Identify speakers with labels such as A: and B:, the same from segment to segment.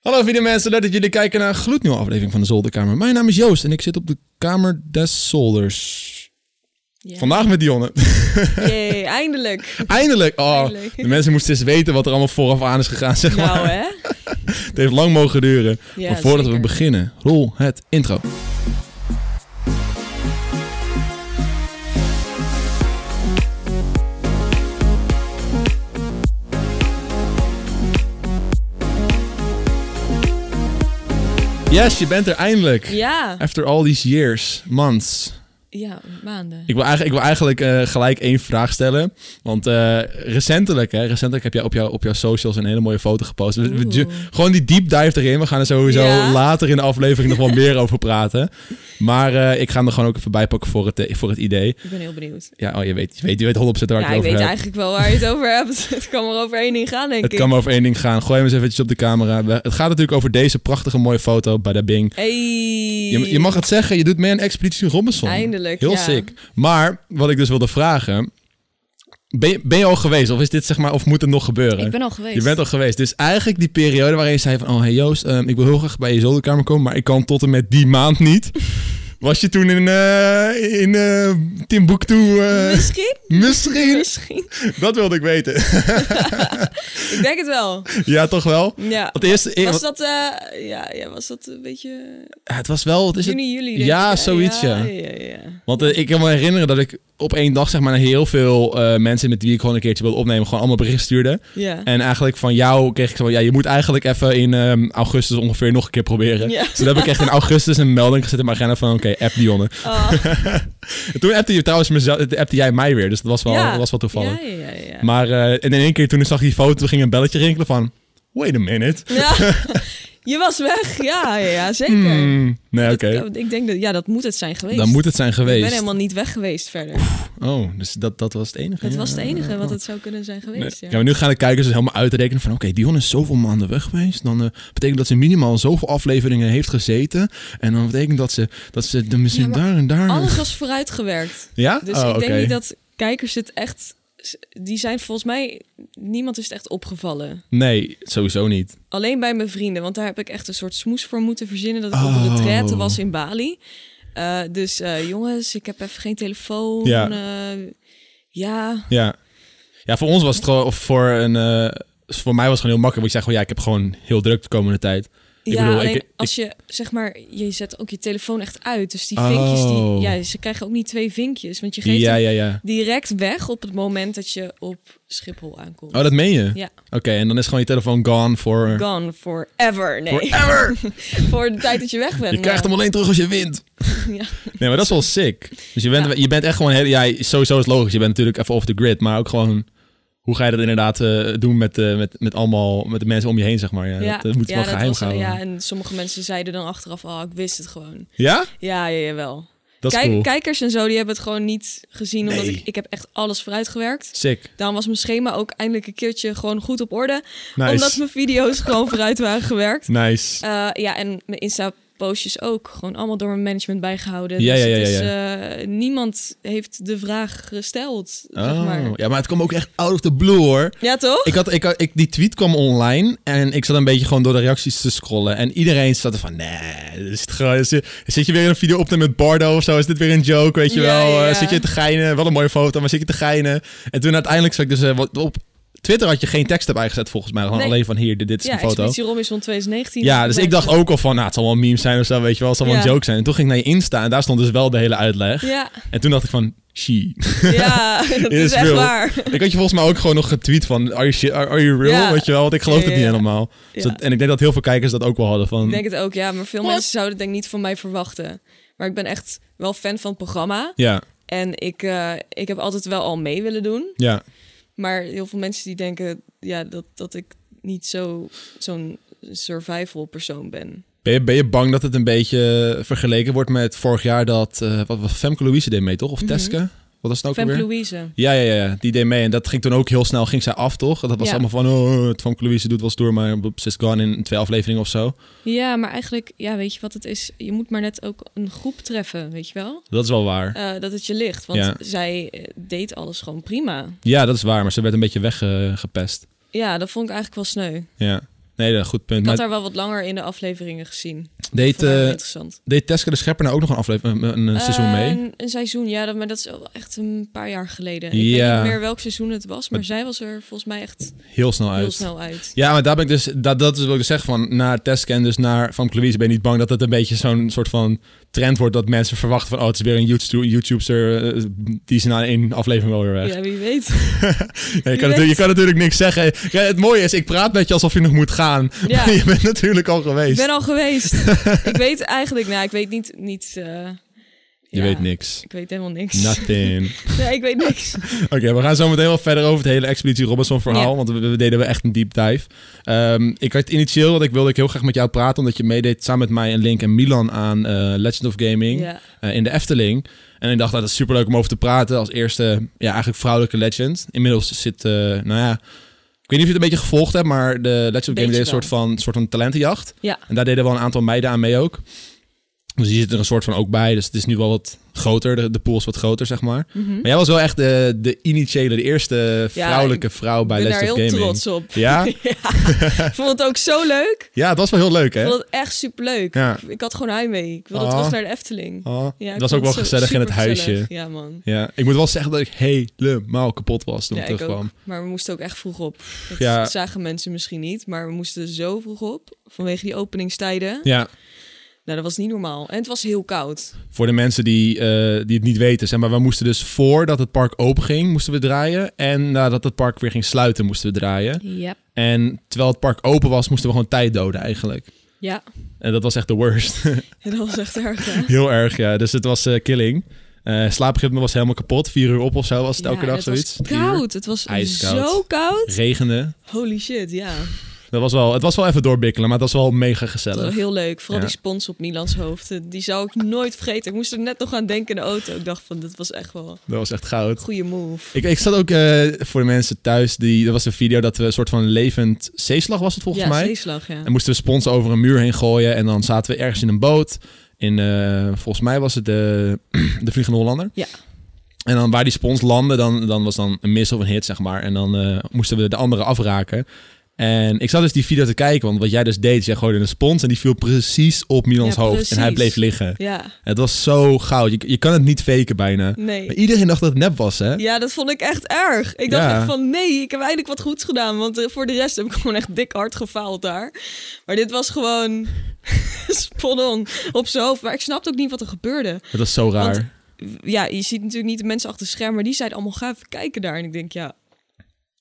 A: Hallo vrienden mensen, leuk dat jullie kijken naar een gloednieuwe aflevering van de Zolderkamer. Mijn naam is Joost en ik zit op de Kamer des Zolders.
B: Ja.
A: Vandaag met Dionne.
B: Jee, eindelijk.
A: Eindelijk! Oh,
B: Eindelijk.
A: De mensen moesten eens weten wat er allemaal vooraf aan is gegaan, zeg maar.
B: Nou hè?
A: Het heeft lang mogen duren.
B: Ja,
A: maar voordat
B: zeker.
A: we beginnen, rol het intro. Yes, je bent er eindelijk.
B: Ja.
A: After all these years, months.
B: Ja, maanden.
A: Ik wil eigenlijk, ik wil eigenlijk eh, gelijk één vraag stellen. Want eh, recentelijk, hè, recentelijk heb jij op, jou, op jouw socials een hele mooie foto gepost. We- we-
B: Oeh.
A: gewoon die deep dive erin. We gaan er sowieso
B: Ja.
A: later in de aflevering nog wel meer over praten. Maar eh, ik ga hem er gewoon ook even bij pakken voor het, eh, voor het idee.
B: Ik ben heel benieuwd.
A: Ja, oh, je weet, je weet, je weet 100% waar ik het
B: Ja, ik
A: over
B: weet
A: heb.
B: eigenlijk wel waar je het over hebt. Het kan maar over één ding gaan, denk
A: Het
B: ik.
A: kan maar over één ding gaan. Gooi hem eens eventjes op de camera. We- het gaat natuurlijk over deze prachtige mooie foto bij de Bing.
B: Hey.
A: Je, je mag het zeggen, je doet mee aan Expeditie Robinson.
B: Eindelijk,
A: Heel
B: ja.
A: sick. Maar wat ik dus wilde vragen. Ben je, ben je al geweest? Of is dit zeg maar, of moet het nog gebeuren?
B: Ik ben al geweest.
A: Je bent al geweest. Dus eigenlijk die periode waarin je zei van... Oh, hey Joost, ehm, ik wil heel graag bij je zolderkamer komen... maar ik kan tot en met die maand niet. Was je toen in, eh in eh, Timbuktu? eh,
B: Misschien?
A: misschien?
B: Misschien.
A: Dat wilde ik weten.
B: Ik denk het wel.
A: ja, toch wel?
B: Ja.
A: Het eerste...
B: Was dat, eh, ja, ja, was dat een beetje
A: Het was wel... Wat is het?
B: juni, juli? denk
A: Ja,
B: ik.
A: zoiets, ja.
B: ja, ja.
A: Want eh, ik kan me herinneren dat ik op één dag zeg maar naar heel veel eh, mensen met wie ik gewoon een keertje wilde opnemen, gewoon allemaal berichten stuurde.
B: Ja.
A: En eigenlijk van jou kreeg ik zo van, ja, je moet eigenlijk even in ehm, augustus ongeveer nog een keer proberen.
B: Ja.
A: Dus toen heb ik echt in augustus een melding gezet in mijn agenda van, oké, app Dionne.
B: Oh,
A: En toen appte je trouwens mezelf, appte jij mij weer, dus dat was wel,
B: ja.
A: dat was wel toevallig.
B: Ja, ja, ja. ja.
A: Maar eh, en in één keer toen ik zag die foto, toen ging een belletje rinkelen van, wait a minute.
B: Ja. Je was weg. Ja, ja, ja zeker.
A: Hmm. Nee,
B: Dat-
A: oké.
B: dat- ik denk dat, ja, dat moet het zijn geweest.
A: Dan moet het zijn
B: Ik ben
A: geweest.
B: helemaal niet weg geweest verder.
A: Oh, dus dat, dat was het enige.
B: Dat
A: ja.
B: was het enige wat het zou kunnen zijn
A: Nee.
B: geweest.
A: Ja.
B: Ja.
A: maar nu gaan de kijkers dus helemaal uitrekenen van... oké, Dion is zoveel maanden weg geweest. Dan eh, betekent dat ze minimaal zoveel afleveringen heeft gezeten. En dan betekent dat ze, dat ze de misschien
B: Ja, maar
A: daar en daar...
B: Alles was vooruitgewerkt.
A: Ja?
B: Dus
A: Oh,
B: ik denk
A: oké.
B: niet dat kijkers het echt. Die zijn volgens mij. Niemand is het echt opgevallen.
A: Nee, sowieso niet.
B: Alleen bij mijn vrienden, want daar heb ik echt een soort smoes voor moeten verzinnen. Dat ik op
A: Oh.
B: een retraite was in Bali. Eh, dus eh, jongens, ik heb even geen telefoon.
A: Ja.
B: eh, ja.
A: Ja. Ja, voor ons was het gewoon... Of voor, een, eh, voor mij was het gewoon heel makkelijk. Want ik zei gewoon... ja, ik heb gewoon heel druk de komende tijd. Ik
B: ja,
A: bedoel,
B: alleen
A: ik-
B: als je zeg maar, je zet ook je telefoon echt uit. Dus die
A: Oh.
B: vinkjes, die, ja, ze krijgen ook niet twee vinkjes. Want je geeft
A: Ja,
B: hem
A: ja, ja.
B: direct weg op het moment dat je op Schiphol aankomt.
A: Oh, dat meen je?
B: Ja.
A: Oké, en dan is gewoon je telefoon gone voor...
B: Gone forever. Nee,
A: Forever!
B: voor de tijd dat je weg bent.
A: Je krijgt hem alleen terug als je wint.
B: eh, Ja.
A: Nee, maar dat is wel sick. Dus je bent,
B: Ja.
A: je bent echt gewoon... Heel, ja, sowieso is het logisch. Je bent natuurlijk even off the grid. Maar ook gewoon... Hoe ga je dat inderdaad eh, doen met, eh, met, met, allemaal, met de mensen om je heen, zeg maar? Ja, dat, eh, moet
B: ja,
A: wel
B: dat
A: geheim
B: was-
A: gaan.
B: Ja,
A: Ja?
B: en sommige mensen zeiden dan achteraf, oh, ik wist het gewoon.
A: Ja?
B: Ja, ja, jawel.
A: Dat is
B: Kijk,
A: cool.
B: Kijkers en zo, die hebben het gewoon niet gezien. Omdat
A: Nee.
B: ik, ik heb echt alles vooruitgewerkt.
A: Sick.
B: Daarom was mijn schema ook eindelijk een keertje gewoon goed op orde.
A: Nice.
B: Omdat mijn video's gewoon vooruit waren gewerkt.
A: Nice.
B: Eh, ja, en mijn Insta-postjes ook. Gewoon allemaal door mijn management bijgehouden.
A: Ja,
B: dus
A: ja, ja,
B: het is,
A: ja,
B: eh, niemand heeft de vraag gesteld, zeg
A: Oh.
B: maar.
A: Ja, maar het kwam ook echt out of the blue, hoor.
B: Ja, toch?
A: Ik had, ik had, ik, die tweet kwam online en ik zat een beetje gewoon door de reacties te scrollen. En iedereen zat er van, nee, dit is het gewoon, is- zit je weer een video op te met Bardo of zo? Is dit weer een joke, weet je
B: Ja,
A: wel?
B: ja,
A: Eh,
B: ja.
A: zit je te geinen? Wel een mooie foto, maar zit je te geinen? En toen uiteindelijk zag ik dus, eh, wat, op Twitter had je geen tekst erbij gezet volgens mij. Gewoon
B: Nee.
A: alleen van, hier, dit, dit is
B: ja,
A: een foto.
B: Expeditie Robinson 2019.
A: Ja, dus ik dacht ook al van, nou, het zal wel een meme zijn of zo, weet je wel. Het zal wel
B: Ja.
A: een joke zijn. En toen ging ik naar je Insta en daar stond dus wel de hele uitleg.
B: Ja,
A: En toen dacht ik van, she.
B: ja dat
A: Is
B: is echt
A: real.
B: waar.
A: Ik had je volgens mij ook gewoon nog getweet van, are you, shit- are, are you real?
B: Ja.
A: Weet je wel, want ik geloof
B: Ja,
A: het
B: ja,
A: niet
B: ja.
A: helemaal. Dus
B: Ja.
A: dat- en ik denk dat heel veel kijkers dat ook wel hadden van...
B: Ik denk het ook, ja. Maar veel
A: What?
B: mensen zouden het denk ik niet van mij verwachten. Maar ik ben echt wel fan van het programma.
A: Ja,
B: En ik, eh, ik heb altijd wel al mee willen doen.
A: ja.
B: Maar heel veel mensen die denken ja, dat, dat ik niet zo- zo'n survival persoon ben.
A: Ben je, ben je bang dat het een beetje vergeleken wordt met vorig jaar dat... eh, wat, wat Femke Louise deed mee, toch? Of Teske? Wat was het ook
B: Mhm. Femke
A: alweer?
B: Louise.
A: Ja, ja, ja, ja. Die deed mee en dat ging toen ook heel snel, ging zij af, toch? Dat was
B: Ja.
A: allemaal van, oh, het Femke Louise doet wel stoer, maar ze is gone in twee afleveringen of zo.
B: Ja, maar eigenlijk, ja, weet je wat het is? Je moet maar net ook een groep treffen, weet je wel?
A: Dat is wel waar.
B: Eh, dat het je ligt. Want
A: Ja.
B: zij eh, deed alles gewoon prima.
A: Ja, dat is waar, maar ze werd een beetje weggepest.
B: Ja, dat vond ik eigenlijk wel sneu.
A: Ja. Nee, dat is een goed punt.
B: Ik had
A: Maar
B: haar wel wat lalanger in de afleveringen gezien.
A: deed,
B: Vond ik wel
A: eh,
B: interessant. Eh,
A: deed Teske de Schepper nou ook nog een, aflevering, een, een seizoen mee?
B: Een, een seizoen, ja, dat, maar dat is al echt een paar jaar geleden. Ik
A: Ja.
B: weet niet meer welk seizoen het was, maar
A: Maar-
B: zij was er volgens mij echt
A: Heel snel
B: heel
A: uit.
B: snel uit.
A: Ja, maar daar ben ik dus, dat, dat is wat ik dus zeg van, naar Teske en dus naar Van Louise ben je niet bang dat het een beetje zo'n soort van trend wordt dat mensen verwachten van, oh, het is weer een YouTube- YouTuber, eh, die is na één aflevering wel weer weg.
B: Ja, wie weet.
A: Ja, je,
B: Wie
A: kan natuurlijk, je
B: weet.
A: kan natuurlijk niks zeggen. Ja, het mooie is, ik praat met je alsof je nog moet gaan.
B: Ja.
A: Maar je bent natuurlijk al
B: Ik
A: geweest.
B: ben al geweest. ik weet eigenlijk, nou, ik weet niet. niet eh,
A: Je
B: ja,
A: weet niks. Nou.
B: Ik weet helemaal niks.
A: Nothing.
B: Nee, ik weet niks.
A: Oké, we gaan zo meteen wel verder over het hele Expeditie Robinson verhaal.
B: Ja.
A: Want we, we deden we echt een deep dive. Ehm, ik had initieel, want ik wilde ik heel graag met jou praten. Omdat je meedeed samen met mij en Link en Milan aan eh, Legend of Gaming.
B: Ja.
A: eh, in de Efteling. En ik dacht, nou, dat is superleuk om over te praten. Als eerste, ja, eigenlijk vrouwelijke legend. Inmiddels zit, eh, nou ja... Ik weet niet of je het een beetje gevolgd hebt, maar de Legend of Gaming deed een
B: wel.
A: soort van, soort van talentenjacht.
B: Ja.
A: En daar deden wel een aantal meiden aan mee ook. Dus die zit er een soort van ook bij. Dus het is nu wel wat groter. De, de pool is wat groter, zeg maar.
B: Mhm.
A: Maar jij was wel echt de, de initiële, de eerste
B: Ja,
A: vrouwelijke vrouw
B: Ik
A: bij
B: ben daar
A: Legend of
B: heel
A: Gaming.
B: trots op.
A: Ja?
B: Ik vond het ook zo leuk.
A: ja, het was wel heel leuk, hè?
B: Ik vond het echt superleuk.
A: Ja.
B: Ik had gewoon heimwee. Ik wilde
A: Ah.
B: terug naar de Efteling.
A: Oh,
B: Ja,
A: het
B: ik
A: was
B: vond
A: ook wel
B: zo-
A: gezellig in het
B: supergezellig.
A: huisje.
B: Ja, man.
A: Ja, ik moet wel zeggen dat ik helemaal kapot was toen
B: Ja,
A: ik
B: ik ook.
A: terugkwam.
B: Maar we moesten ook echt vroeg op. Dat
A: Ja.
B: zagen mensen misschien niet, maar we moesten zo vroeg op. Vanwege die openingstijden.
A: Ja,
B: Nou, dat was niet normaal. En het was heel koud.
A: voor de mensen die, eh, die het niet weten, zeg maar, we moesten dus voordat het park open ging, moesten we draaien. En nadat het park weer ging sluiten, moesten we draaien.
B: Ja.
A: En terwijl het park open was, moesten we gewoon tijd doden eigenlijk.
B: Ja,
A: En dat was echt de worst.
B: dat was echt erg. hè?
A: Heel erg, ja. Dus het was eh, killing. Eh slaapritme was helemaal kapot. Vier uur op of zo was het
B: Ja,
A: elke dag
B: en het
A: zoiets.
B: was
A: Vier uur.
B: koud. Het was
A: Ijskoud.
B: zo koud.
A: Regende.
B: Holy shit, ja.
A: Dat was wel, het was wel even doorbikkelen, maar het was wel mega
B: Dat was
A: gezellig.
B: heel leuk. Vooral
A: Ja.
B: die spons op Milans hoofd. eh, Die zou ik nooit vergeten. Ik moest er net nog aan denken in de auto. Ik dacht van, dat was echt wel een
A: Dat was echt goud.
B: goede move.
A: Ik, ik zat ook eh, voor de mensen thuis, die, er was een video dat we een soort van levend zeeslag was het volgens
B: ja,
A: mij.
B: zeeslag, ja.
A: En moesten we spons over een muur heen gooien en dan zaten we ergens in een boot. In, eh, volgens mij was het de, de Vliegende Hollander.
B: Ja.
A: En dan waar die spons landde, dan, dan was dan een miss of een hit, zeg maar. En dan eh, moesten we de andere afraken. En ik zat dus die video te kijken, want wat jij dus deed, is jij gooide een spons en die viel precies op Milans
B: Ja,
A: hoofd. En hij
B: precies.
A: bleef liggen.
B: Ja,
A: Het was zo goud. Je, je kan het niet faken bijna. Maar
B: nee.
A: iedereen dacht dat het nep was, hè?
B: Ja, dat vond ik echt erg. Ik dacht
A: Ja.
B: echt van, nee, ik heb eindelijk wat goeds gedaan. Want eh, voor de rest heb ik gewoon echt dik hard gefaald daar. Maar dit was gewoon spot on op zijn hoofd. Maar ik snapte ook niet wat er gebeurde.
A: Het was zo raar.
B: Want- Ja, je ziet natuurlijk niet de mensen achter het scherm, maar die zeiden allemaal, ga even kijken daar. En ik denk, ja...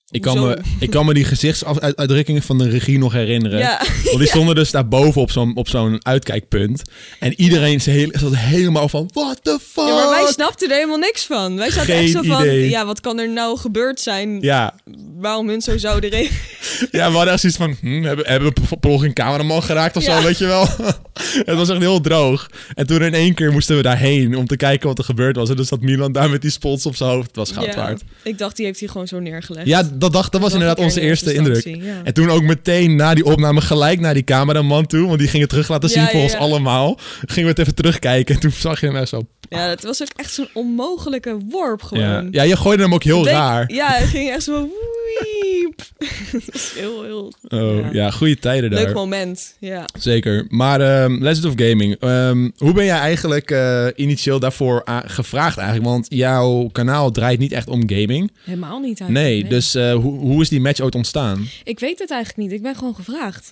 A: ik, kan
B: hoezo?
A: me, ik kan me die gezichtsuitdrukkingen van de regie nog herinneren.
B: Ja,
A: Want die stonden dus daar boven op zo'n, op zo'n uitkijkpunt. En iedereen is heel, zat helemaal van, what the fuck?
B: Ja, maar wij snapten er helemaal niks van. Wij zaten
A: Oh, Geen
B: echt zo van,
A: idee.
B: ja, wat kan er nou gebeurd zijn?
A: ja,
B: Waarom hun zo zouden reageren?
A: ja, we hadden echt zoiets van, hm, hebben, hebben we per ongeluk een cameraman geraakt of
B: Ja.
A: zo, weet je wel? het was echt heel droog. En toen in één keer moesten we daarheen om te kijken wat er gebeurd was. En dus zat Milan daar met die spons op zijn hoofd. Het was goud waard.
B: Ik dacht, die heeft hij gewoon zo neergelegd.
A: Ja, dat, dacht, dat was
B: dacht
A: inderdaad
B: ik
A: onze
B: in eerste
A: eerste indruk.
B: instantie, ja.
A: En toen ook meteen na die opname gelijk naar die cameraman toe. Want die ging het terug laten
B: Ja,
A: zien
B: ja,
A: voor ons
B: ja.
A: allemaal. Gingen we het even terugkijken. En toen zag je hem echt zo.
B: Ja, dat was ook echt zo'n onmogelijke worp gewoon.
A: Ja. ja, je gooide hem ook heel
B: Denk-
A: raar.
B: Ja, het ging echt zo wiep. Het was heel, heel...
A: Oh, ja.
B: Ja.
A: goede tijden daar.
B: Leuk moment, ja.
A: Zeker. Maar ehm Legend of Gaming, ehm, hoe ben jij eigenlijk eh, initieel daarvoor a- gevraagd eigenlijk? Want jouw kanaal draait niet echt om gaming.
B: Helemaal niet
A: Nee, dus eh, hoe, hoe is die match ooit ontstaan?
B: Ik weet het eigenlijk niet. Ik ben gewoon gevraagd.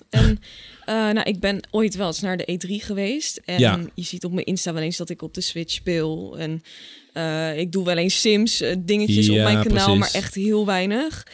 B: En eh, nou, ik ben ooit wel eens naar de E3 geweest. En
A: Ja.
B: je ziet op mijn Insta wel eens dat ik op de Switch speel. En eh, ik doe wel eens Sims eh, dingetjes
A: Ja,
B: op mijn kanaal,
A: precies.
B: maar echt heel weinig.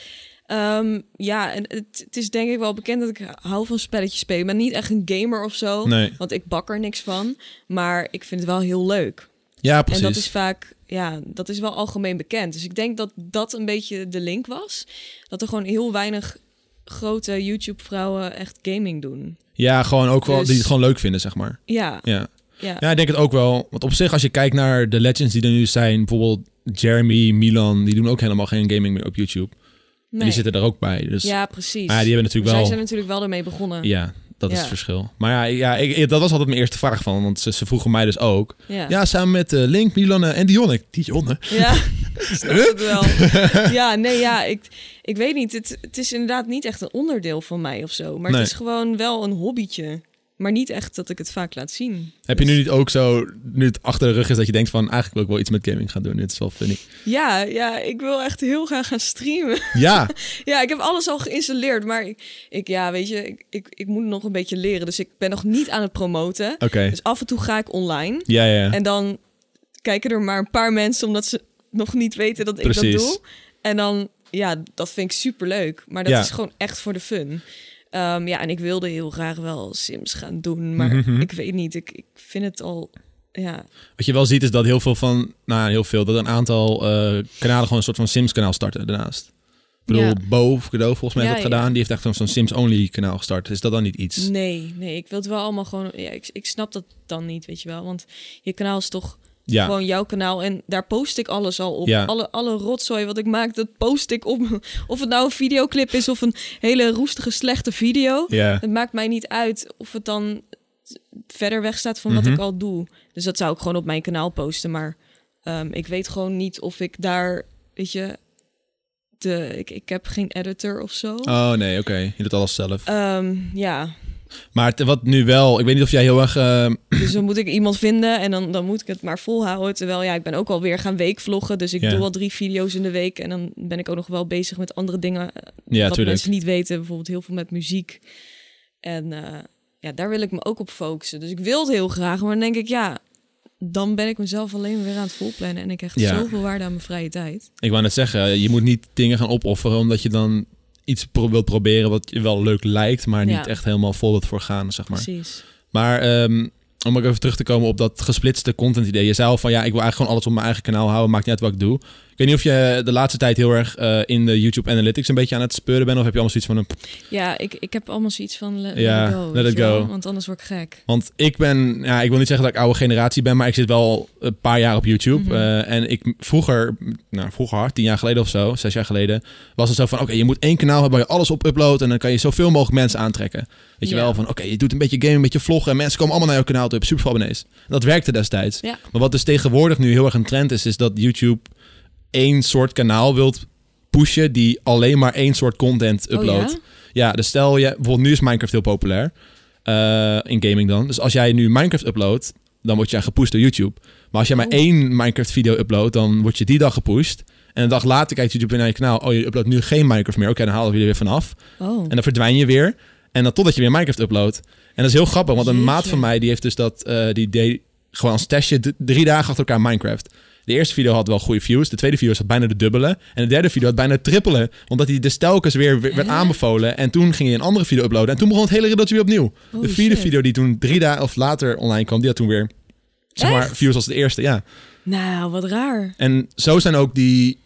B: Ehm, ja, en het, het is denk ik wel bekend dat ik hou van spelletjes spelen. Ik ben niet echt een gamer of zo,
A: Nee.
B: want ik bak er niks van. Maar ik vind het wel heel leuk.
A: Ja, precies.
B: En dat is vaak, ja, dat is wel algemeen bekend. Dus ik denk dat dat een beetje de link was. Dat er gewoon heel weinig grote YouTube-vrouwen echt gaming doen.
A: Ja, gewoon ook wel
B: Dus-
A: die het gewoon leuk vinden, zeg maar.
B: Ja,
A: Ja.
B: ja.
A: ja, ik denk het ook wel. Want op zich, als je kijkt naar de legends die er nu zijn, bijvoorbeeld Jeremy, Milan, die doen ook helemaal geen gaming meer op YouTube. En
B: Nee.
A: die zitten er ook bij. Dus
B: ja precies. Dus
A: Maar ja, die hebben natuurlijk
B: Zij
A: wel...
B: zijn natuurlijk wel ermee begonnen. Ja.
A: Ja, dat is
B: Ja.
A: het verschil. Maar ja, ja ik, ik- dat was altijd mijn eerste vraag van, want ze, ze vroegen mij dus ook. Ja,
B: Ja.
A: samen met eh, Link, Milan eh, en Dionne. Dionne?
B: Ja. Ik snap het wel. Ja, nee, ja, ik, ik weet niet. Het, het is inderdaad niet echt een onderdeel van mij of zo. Maar
A: Nee.
B: het is gewoon wel een hobbytje. Maar niet echt dat ik het vaak laat zien. Dus
A: Heb je nu niet ook zo, nu het achter de rug is, dat je denkt van eigenlijk wil ik wel iets met gaming gaan doen. Dit is wel funny.
B: Ja, ja, ik wil echt heel graag gaan streamen.
A: Ja,
B: Ja, ik heb alles al geïnstalleerd, maar ik, ik ja, weet je, ik, ik, ik moet nog een beetje leren. Dus ik ben nog niet aan het promoten.
A: oké.
B: Dus af en toe ga ik online.
A: Ja, ja.
B: En dan kijken er maar een paar mensen, omdat ze nog niet weten dat ik
A: Precies.
B: dat doe. En dan, ja, dat vind ik superleuk. Maar dat
A: Ja.
B: is gewoon echt voor de fun. Ehm, ja, en ik wilde heel graag wel Sims gaan doen, maar
A: Mhm.
B: ik weet niet. Ik, ik vind het al, ja,
A: Wat je wel ziet is dat heel veel van, nou heel veel, dat een aantal eh, kanalen gewoon een soort van Sims-kanaal starten daarnaast. Ik bedoel,
B: Ja.
A: Bo of Cadeau volgens mij
B: Ja,
A: heeft dat gedaan.
B: ja.
A: Die heeft echt zo'n- zo'n Sims-only kanaal gestart. Is dat dan niet iets?
B: nee, nee. Ik wil het wel allemaal gewoon, ja, ik, ik snap dat dan niet, weet je wel. Want je kanaal is toch
A: ja.
B: gewoon jouw kanaal en daar post ik alles al op.
A: Ja.
B: Alle, alle rotzooi wat ik maak, dat post ik op. Of het nou een videoclip is of een hele roestige, slechte video.
A: Ja.
B: Het maakt mij niet uit of het dan verder weg staat van
A: Mhm.
B: wat ik al doe. Dus dat zou ik gewoon op mijn kanaal posten. Maar ehm, ik weet gewoon niet of ik daar, weet je, de, ik, ik heb geen editor of zo.
A: Oh nee, oké. Je doet alles zelf.
B: Ehm, ja,
A: Maar het- wat nu wel, ik weet niet of jij heel erg... eh,
B: dus dan moet ik iemand vinden en dan, dan moet ik het maar volhouden. Terwijl ja, ik ben ook alweer gaan weekvloggen. Dus ik
A: Ja.
B: doe al drie video's in de week. En dan ben ik ook nog wel bezig met andere dingen. eh,
A: ja,
B: wat
A: tuurlijk.
B: mensen niet weten. Bijvoorbeeld heel veel met muziek. En eh, ja, daar wil ik me ook op focussen. Dus ik wil het heel graag. Maar dan denk ik, ja, dan ben ik mezelf alleen weer aan het volplannen. En ik hecht
A: Ja.
B: zoveel waarde aan mijn vrije tijd.
A: Ik wou net zeggen, je moet niet dingen gaan opofferen omdat je dan iets pro- wilt proberen wat je wel leuk lijkt, maar
B: Ja.
A: niet echt helemaal vol wilt voor gaan, zeg maar.
B: Precies.
A: Maar ehm, om ook even terug te komen op dat gesplitste content idee. Je zei al van ja, ik wil eigenlijk gewoon alles op mijn eigen kanaal houden, maakt niet uit wat ik doe. Ik weet niet of je de laatste tijd heel erg eh, in de YouTube Analytics een beetje aan het speuren bent, of heb je allemaal zoiets van een
B: Ja, ik, ik heb allemaal zoiets van let,
A: Ja,
B: let it go.
A: let
B: weet
A: it
B: je wel,
A: go.
B: Want anders word ik gek.
A: Want ik ben, ja, ik wil niet zeggen dat ik oude generatie ben, maar ik zit wel een paar jaar op YouTube.
B: Mhm.
A: Eh, en ik m- vroeger, m- nou vroeger, hard, tien jaar geleden of zo, zes jaar geleden, was het zo van: oké, je moet één kanaal hebben waar je alles op uploadt. En dan kan je zoveel mogelijk mensen aantrekken. Weet je
B: Ja.
A: wel, van oké, je doet een beetje gaming, een beetje vloggen. En mensen komen allemaal naar jouw kanaal toe, je hebt super veel abonnees. En dat werkte destijds.
B: Ja.
A: Maar wat dus tegenwoordig nu heel erg een trend is, is dat YouTube één soort kanaal wilt pushen die alleen maar één soort content
B: Oh,
A: uploadt.
B: ja?
A: Ja, dus stel je, bijvoorbeeld nu is Minecraft heel populair. eh, in gaming dan. Dus als jij nu Minecraft uploadt, dan word jij gepusht door YouTube. Maar als jij maar
B: Oh.
A: één Minecraft video uploadt, dan word je die dag gepusht. En een dag later kijkt YouTube weer naar je kanaal. Oh, je uploadt nu geen Minecraft meer. Oké, dan halen we je er weer vanaf.
B: Oh.
A: En dan verdwijn je weer. En dan totdat je weer Minecraft uploadt. En dat is heel grappig, want een
B: Jeetje.
A: maat van mij die heeft dus dat, eh, die deed gewoon als testje d- drie dagen achter elkaar Minecraft. De eerste video had wel goede views, de tweede video had bijna de dubbele. En de derde video had bijna het trippele, omdat hij dus telkens weer w- werd
B: Hè?
A: aanbevolen. En toen ging hij een andere video uploaden. En toen begon het hele riddeltje weer opnieuw.
B: Holy
A: de vierde
B: Oh, shit.
A: video die toen drie dagen of later online kwam, die had toen weer zeg maar,
B: Echt?
A: views als de eerste. Ja.
B: Nou, wat raar.
A: En zo zijn ook die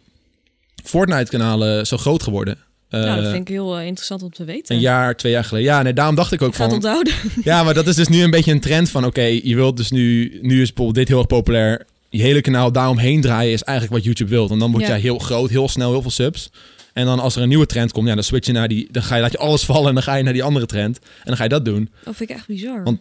A: Fortnite-kanalen zo groot geworden.
B: nou, dat
A: Eh,
B: vind ik heel eh, interessant om te weten.
A: een jaar, twee jaar geleden. Ja, nee, daarom dacht ik ook
B: ik ga het
A: van...
B: onthouden.
A: Ja, maar dat is dus nu een beetje een trend van... oké, je wilt dus nu... nu is bijvoorbeeld dit heel erg populair. Je hele kanaal daaromheen draaien is eigenlijk wat YouTube wilt. En dan word
B: Ja.
A: jij heel groot, heel snel, heel veel subs. En dan als er een nieuwe trend komt, ja, dan switch je naar die... dan ga je, laat je alles vallen en dan ga je naar die andere trend. En dan ga je dat doen.
B: Dat vind ik echt bizar.
A: Want-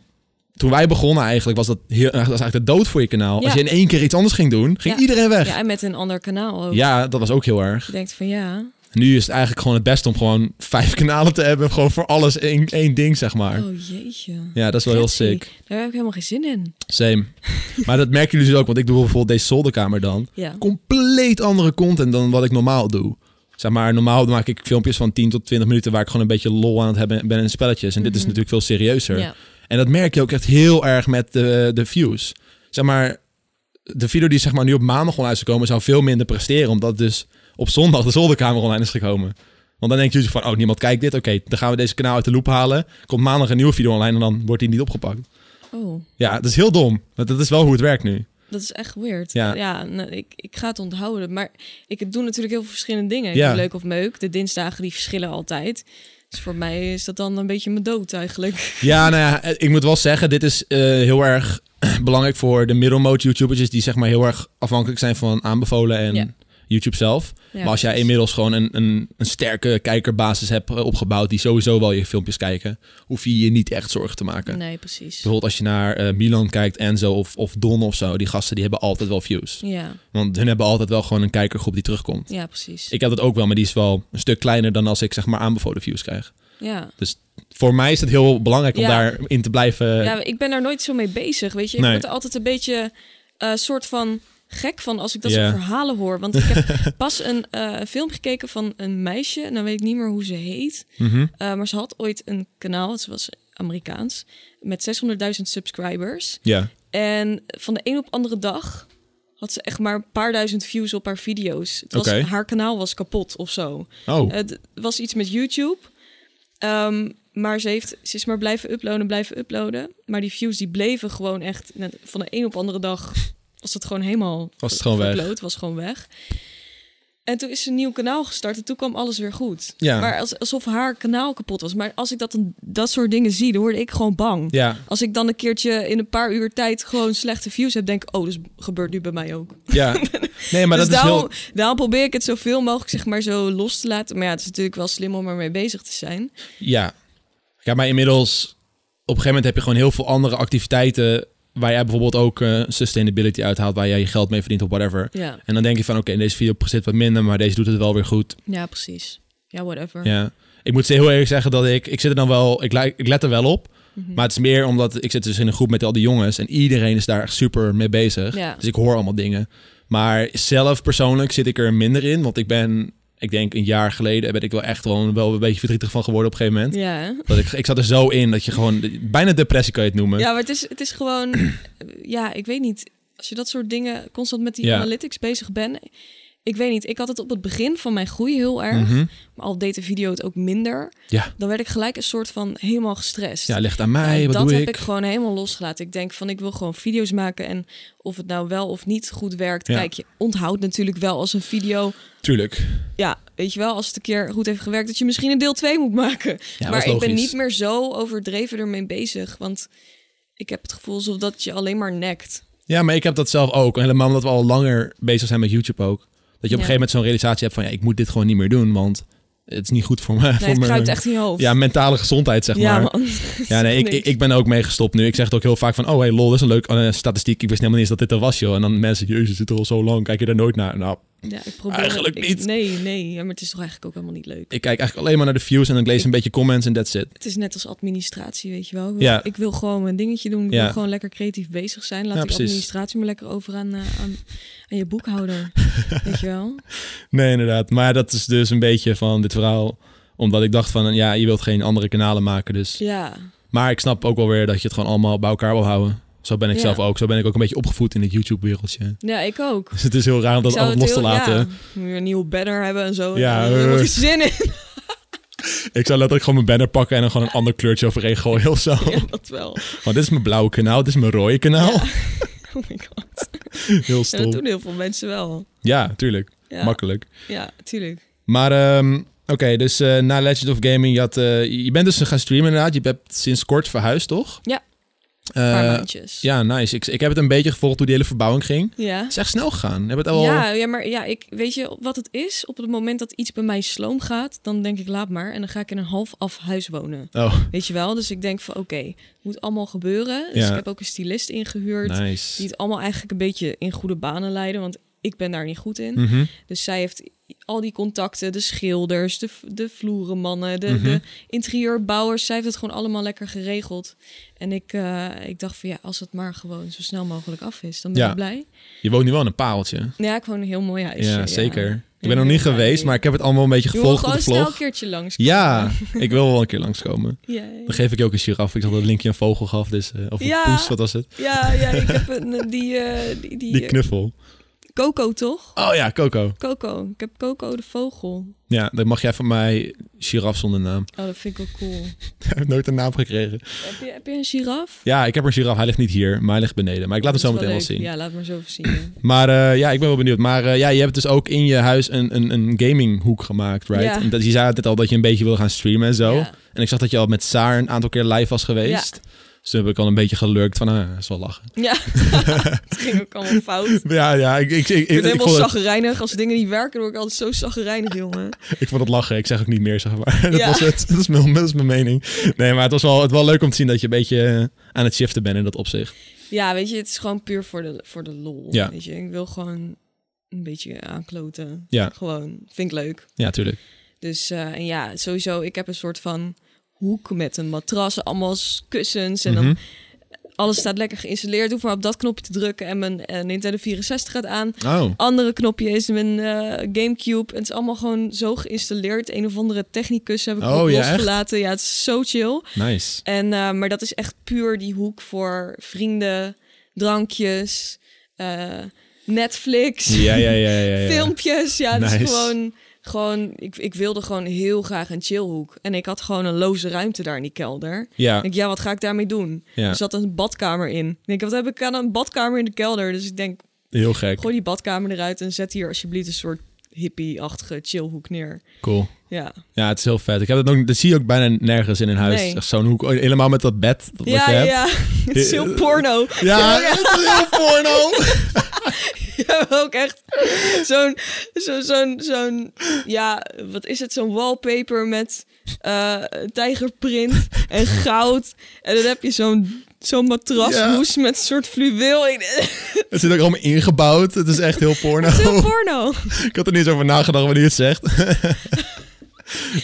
A: Toen wij begonnen eigenlijk, was dat, heel, was eigenlijk de dood voor je kanaal.
B: Ja.
A: Als je in één keer iets anders ging doen, ging
B: Ja.
A: iedereen weg.
B: ja, en met een ander kanaal ook.
A: ja, dat was ook heel erg.
B: Je denkt van ja,
A: Nu is het eigenlijk gewoon het beste om gewoon vijf kanalen te hebben. Gewoon voor alles één, één ding, zeg maar.
B: oh jeetje.
A: Ja, dat is wel heel
B: Pretty.
A: sick.
B: Daar heb ik helemaal geen zin in.
A: Same. maar dat merken jullie dus ook, want ik doe bijvoorbeeld deze zolderkamer dan.
B: Ja.
A: Compleet andere content dan wat ik normaal doe. Zeg maar, normaal maak ik filmpjes van 10 tot 20 minuten waar ik gewoon een beetje lol aan het hebben ben in spelletjes. En dit is
B: Mhm.
A: natuurlijk veel serieuzer.
B: ja.
A: En dat merk je ook echt heel erg met de, de views. Zeg maar, de video die zeg maar nu op maandag online is gekomen, zou veel minder presteren. Omdat dus op zondag de zolderkamer online is gekomen. Want dan denkt jullie van, oh, niemand kijkt dit. Oké, dan gaan we deze kanaal uit de loop halen. Komt maandag een nieuwe video online en dan wordt die niet opgepakt.
B: Oh,
A: Ja, dat is heel dom. Dat, dat is wel hoe het werkt nu.
B: dat is echt weird.
A: Ja.
B: Ja, nou, ik, ik ga het onthouden. Maar ik doe natuurlijk heel veel verschillende dingen. Ik
A: Ja.
B: doe leuk of meuk. De dinsdagen die verschillen altijd. Dus voor mij is dat dan een beetje mijn dood eigenlijk.
A: Ja, nou ja, ik moet wel zeggen, dit is eh, heel erg belangrijk voor de middelmoot YouTubers die zeg maar heel erg afhankelijk zijn van aanbevolen en
B: Ja.
A: YouTube zelf.
B: Ja,
A: maar als jij
B: precies.
A: inmiddels gewoon een, een, een sterke kijkerbasis hebt eh, opgebouwd... die sowieso wel je filmpjes kijken... hoef je je niet echt zorgen te maken.
B: Nee, precies.
A: Bijvoorbeeld als je naar eh, Milan kijkt, Enzo of, of Don of zo... die gasten die hebben altijd wel views.
B: Ja,
A: Want hun hebben altijd wel gewoon een kijkergroep die terugkomt.
B: ja, precies.
A: Ik heb dat ook wel, maar die is wel een stuk kleiner... dan als ik zeg maar aanbevolen views krijg.
B: ja.
A: Dus Voor mij is het heel belangrijk om
B: Ja.
A: daarin te blijven...
B: ja, Nou, ik ben daar nooit zo mee bezig, weet je. Ik
A: Nee.
B: word er altijd een beetje eh soort van gek van als ik dat
A: Ja.
B: soort verhalen hoor. Want ik heb pas een eh, film gekeken van een meisje, en dan weet ik niet meer hoe ze heet.
A: Mhm.
B: Eh, maar ze had ooit een kanaal, ze was Amerikaans, met 600.000 subscribers.
A: ja.
B: En van de een op de andere dag had ze echt maar een paar duizend views op haar video's. Het was,
A: Oké.
B: Haar kanaal was kapot of zo.
A: Oh,
B: Het was iets met YouTube. Ehm, maar ze, heeft, ze is maar blijven uploaden, blijven uploaden. Maar die views die bleven gewoon echt... net Van de een op de andere dag was het gewoon helemaal...
A: Was het gewoon weg.
B: verkloot, was gewoon weg. En toen is ze een nieuw kanaal gestart en toen kwam alles weer goed.
A: Ja.
B: Maar als, alsof haar kanaal kapot was. Maar als ik dat, dan- dat soort dingen zie, dan word ik gewoon bang.
A: ja.
B: Als ik dan een keertje in een paar uur tijd gewoon slechte views heb, denk ik, oh, dus gebeurt nu bij mij ook.
A: Ja, nee, maar
B: dus
A: dat is
B: daarom,
A: heel...
B: daarom probeer ik het zoveel mogelijk zeg maar zo los te laten. Maar ja, het is natuurlijk wel slim om ermee bezig te zijn.
A: Ja. ja, maar inmiddels... Op een gegeven moment heb je gewoon heel veel andere activiteiten... waar jij bijvoorbeeld ook eh, sustainability uithaalt... waar jij je geld mee verdient of whatever.
B: Ja,
A: En dan denk je van, oké, deze video zit wat minder... maar deze doet het wel weer goed.
B: ja precies. Ja, whatever.
A: Ja. Ik moet ze heel eerlijk zeggen dat ik... Ik zit er dan wel... Ik, li- ik let er wel op.
B: Mhm.
A: Maar het is meer omdat ik zit dus in een groep met al die jongens... en iedereen is daar echt super mee bezig.
B: Ja.
A: Dus ik hoor allemaal dingen. Maar zelf persoonlijk zit ik er minder in. Want ik ben... Ik denk een jaar geleden ben ik wel echt gewoon wel een beetje verdrietig van geworden op een gegeven moment.
B: ja, hè?
A: Dat ik, ik zat er zo in dat je gewoon... Bijna depressie kan je het noemen.
B: ja maar het is, het is gewoon... ja, ik weet niet. Als je dat soort dingen constant met die
A: Ja.
B: analytics bezig bent... Ik weet niet, ik had het op het begin van mijn groei heel erg.
A: Mhm.
B: Maar al deed de video het ook minder.
A: Ja.
B: Dan werd ik gelijk een soort van helemaal gestrest.
A: ja, ligt aan mij.
B: Nou,
A: wat
B: dat
A: doe
B: heb
A: ik?
B: ik gewoon helemaal losgelaten. Ik denk van ik wil gewoon video's maken en of het nou wel of niet goed werkt.
A: Ja.
B: Kijk, je onthoudt natuurlijk wel als een video.
A: Tuurlijk.
B: Ja, weet je wel, als het een keer goed heeft gewerkt, dat je misschien een deel 2 moet maken.
A: Ja, dat
B: maar
A: is
B: ik ben
A: logisch.
B: niet meer zo overdreven ermee bezig. Want ik heb het gevoel alsof dat je alleen maar nekt.
A: Ja, maar ik heb dat zelf ook. En helemaal omdat we al langer bezig zijn met YouTube ook. Dat je op een
B: Ja.
A: gegeven moment zo'n realisatie hebt van... Ja, ik moet dit gewoon niet meer doen, want het is niet goed voor me. voor
B: Nee, het
A: mijn-
B: kruipt echt in je hoofd.
A: Ja, mentale gezondheid, zeg
B: ja
A: maar.
B: man.
A: Ja, nee, ik,
B: Nee.
A: ik, ik ben er ook mee gestopt nu. Ik zeg het ook heel vaak van... Oh, hey, lol, dat is een leuke eh, statistiek. Ik wist helemaal niet eens dat dit er was, joh. En dan mensen... Jezus, het zit er al zo lang. Kijk je er nooit naar? Nou,
B: Ja, ik probeer
A: Eigenlijk
B: ik-
A: niet.
B: nee, nee. Ja, maar het is toch eigenlijk ook helemaal niet leuk.
A: ik kijk eigenlijk alleen maar naar de views... en dan lees een beetje comments en that's it.
B: Het is net als administratie, weet je wel. Ik wil,
A: Ja.
B: ik wil gewoon mijn dingetje doen. Ik
A: Ja.
B: wil gewoon lekker creatief bezig zijn. Laat
A: Ja,
B: die
A: precies.
B: administratie maar lekker over aan, eh, aan, aan je boekhouder. weet je wel?
A: Nee, inderdaad. Maar dat is dus een beetje van dit verhaal. Omdat ik dacht van, ja, je wilt geen andere kanalen maken. Dus.
B: Ja,
A: Maar ik snap ook wel weer dat je het gewoon allemaal bij elkaar wil houden. Zo ben ik
B: Ja.
A: zelf ook. Zo ben ik ook een beetje opgevoed in het YouTube-wereldje.
B: ja ik ook.
A: Dus het is heel raar om dat
B: ik zou
A: altijd
B: het
A: los te
B: heel-
A: laten.
B: Ja, moet weer een nieuwe banner hebben en zo.
A: Ja,
B: Ja, daar heb
A: eh.
B: ik zin in.
A: Ik zou letterlijk gewoon mijn banner pakken en dan gewoon een ander kleurtje overheen gooien of zo.
B: Ja, dat wel.
A: Want dit is mijn blauwe kanaal, dit is mijn rode kanaal.
B: Oh my god.
A: Heel
B: Ja, dat
A: stom.
B: doen heel veel mensen wel.
A: Ja, tuurlijk.
B: Ja,
A: Makkelijk.
B: ja tuurlijk.
A: Maar ehm, oké, dus eh, na Legend of Gaming, je, had, eh, je bent dus gaan streamen inderdaad. Je hebt sinds kort verhuisd, toch?
B: Ja.
A: Eh,
B: Een paar maandjes.
A: Ja, nice. Ik, ik heb het een beetje gevolgd hoe die hele verbouwing ging.
B: Ja.
A: Het is echt snel gegaan. Heb het al...
B: Ja, ja, maar ja, ik, weet je wat het is? Op het moment dat iets bij mij sloom gaat, dan denk ik laat maar. En dan ga ik in een half af huis wonen.
A: Oh,
B: Weet je wel? Dus ik denk van oké, het moet allemaal gebeuren. Dus
A: Ja.
B: ik heb ook een stylist ingehuurd. Die
A: nice.
B: het allemaal eigenlijk een beetje in goede banen leiden. Want ik ben daar niet goed in.
A: Mhm.
B: Dus zij heeft al die contacten, de schilders, de, v- de vloerenmannen, de,
A: Mhm.
B: de interieurbouwers. Zij heeft het gewoon allemaal lekker geregeld. En ik, eh, ik dacht van ja, als het maar gewoon zo snel mogelijk af is, dan ben
A: Ja.
B: ik blij.
A: Je woont nu wel in een paaltje.
B: Nou ja, ik woon in een heel mooi huisje.
A: ja, zeker. Ik ben
B: Ja,
A: nog niet
B: ja,
A: geweest,
B: nee.
A: maar ik heb het allemaal een beetje
B: Je wil
A: gevolgd op
B: gewoon
A: de
B: snel een
A: vlog.
B: keertje langs.
A: Ja, ik wil wel een keer langskomen.
B: Ja,
A: Dan geef ik je ook een giraf. Ik zag dat Linkje een vogel gaf, dus, eh, of een
B: Ja.
A: poes, wat was het?
B: ja, ja, ik heb een, die, eh, die, die, eh,
A: Die knuffel.
B: Coco toch?
A: Oh ja, Coco.
B: Coco. Ik heb Coco de vogel.
A: Ja, dan mag jij van mij giraf zonder naam.
B: Oh, dat vind ik wel cool.
A: Hij heeft nooit een naam gekregen.
B: heb, je, heb je een giraf?
A: Ja, ik heb een giraf. Hij ligt niet hier, maar hij ligt beneden. Maar ik laat hem
B: Dat
A: zo
B: is
A: meteen wel
B: leuk.
A: zien.
B: Ja, laat maar zo even zien. ja.
A: Maar eh, ja, ik ben wel benieuwd. Maar eh, ja, je hebt dus ook in je huis een, een, een gaminghoek gemaakt, right?
B: Ja.
A: En dat, je zei altijd al dat je een beetje wil gaan streamen en zo.
B: Ja.
A: En ik zag dat je al met Saar een aantal keer live was geweest. Dus toen heb ik al een beetje gelurkt van, ah, dat is wel lachen.
B: Ja, het ging ook allemaal fout. Ik
A: Ja, ja, ik, ik, ik,
B: ben
A: ik, ik,
B: helemaal
A: vond het,
B: zagrijnig. Als dingen niet werken, word ik altijd zo zagrijnig, jongen.
A: ik vond het lachen. Ik zeg ook niet meer, zeg maar. Dat,
B: Ja.
A: was het. dat, is mijn, dat is mijn mening. Nee, maar het was wel, het wel leuk om te zien dat je een beetje eh, aan het shiften bent in dat opzicht.
B: Ja, weet je, het is gewoon puur voor de, voor de lol.
A: Ja.
B: Weet je, ik wil gewoon een beetje aankloten.
A: Ja.
B: Gewoon, vind ik leuk.
A: Ja, tuurlijk.
B: Dus eh, en ja, sowieso, ik heb een soort van hoek met een matras, allemaal s- kussens en
A: Mhm.
B: dan... Alles staat lekker geïnstalleerd. Hoef maar op dat knopje te drukken en mijn eh, Nintendo 64 gaat aan.
A: Oh,
B: Andere knopje is mijn eh, Gamecube. Het is allemaal gewoon zo geïnstalleerd. Een of andere technicus heb ik
A: Oh,
B: ook
A: ja, echt?
B: losgelaten. Ja, het is zo chill.
A: nice.
B: En, eh, maar dat is echt puur die hoek voor vrienden, drankjes, eh, Netflix,
A: Ja, ja, ja, ja. ja.
B: filmpjes. Ja, dat
A: Nice.
B: is gewoon... gewoon ik, ik wilde gewoon heel graag een chillhoek. En ik had gewoon een loze ruimte daar in die kelder. Ik
A: Ja,
B: denk, ja, wat ga ik daarmee doen?
A: ja,
B: Er zat een badkamer in. Ik denk, wat heb ik aan een badkamer in de kelder? Dus ik denk,
A: heel gek.
B: gooi die badkamer eruit en zet hier alsjeblieft een soort hippie-achtige chillhoek neer.
A: Cool.
B: Ja,
A: Ja, het is heel vet. Ik heb dat, ook, dat zie je ook bijna nergens in een huis.
B: Nee.
A: Echt zo'n hoek. oh, Helemaal met dat bed. Dat wat
B: ja,
A: je
B: ja,
A: hebt. Eh,
B: het is heel porno.
A: Ja, het is heel porno.
B: Ja, maar ook echt zo'n, zo, zo'n, zo'n, ja, wat is het? Zo'n wallpaper met eh, tijgerprint en goud. En dan heb je zo'n, zo'n matrashoes met een soort fluweel. in. Het
A: Het zit ook allemaal ingebouwd. Het is echt heel porno.
B: is heel porno.
A: Ik had er niet eens over nagedacht wanneer je het zegt.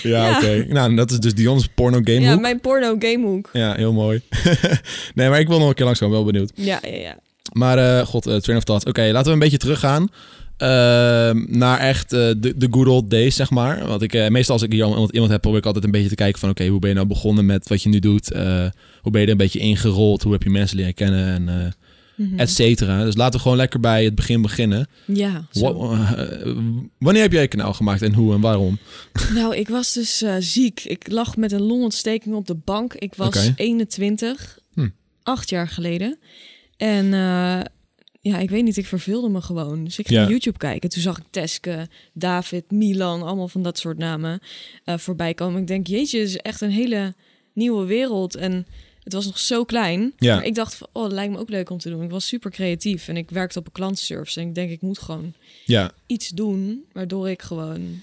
A: ja,
B: Ja.
A: oké. Nou, dat is dus Dion's porno game
B: Ja,
A: ja,
B: mijn porno gamehoek.
A: ja, heel mooi. nee, maar ik wil nog een keer langskomen. Wel benieuwd.
B: Ja, ja, ja.
A: Maar eh, god, eh, train of thought. Oké, laten we een beetje teruggaan eh, naar echt eh, de, de good old days, zeg maar. Want ik, eh, meestal als ik hier iemand, iemand heb, probeer ik altijd een beetje te kijken van... oké, hoe ben je nou begonnen met wat je nu doet? Eh, hoe ben je er een beetje ingerold? Hoe heb je mensen leren kennen? En, eh,
B: Mm.
A: et cetera. Dus laten we gewoon lekker bij het begin beginnen.
B: Mhm. Ja, zo.
A: Wa- eh, wanneer heb jij je kanaal gemaakt en hoe en waarom?
B: Nou, ik was dus eh, ziek. Ik lag met een longontsteking op de bank. Ik was
A: Oké.
B: 21,
A: Hm.
B: acht jaar geleden. En eh, ja, ik weet niet, ik verveelde me gewoon. Dus ik ging
A: Ja.
B: YouTube kijken. Toen zag ik Teske, David, Milan, allemaal van dat soort namen eh, voorbij komen. Ik denk, jeetje, het is echt een hele nieuwe wereld. En het was nog zo klein.
A: Ja.
B: Maar ik dacht, van, oh, dat lijkt me ook leuk om te doen. Ik was super creatief en ik werkte op een klantenservice. En ik denk, ik moet gewoon
A: Ja,
B: iets doen waardoor ik gewoon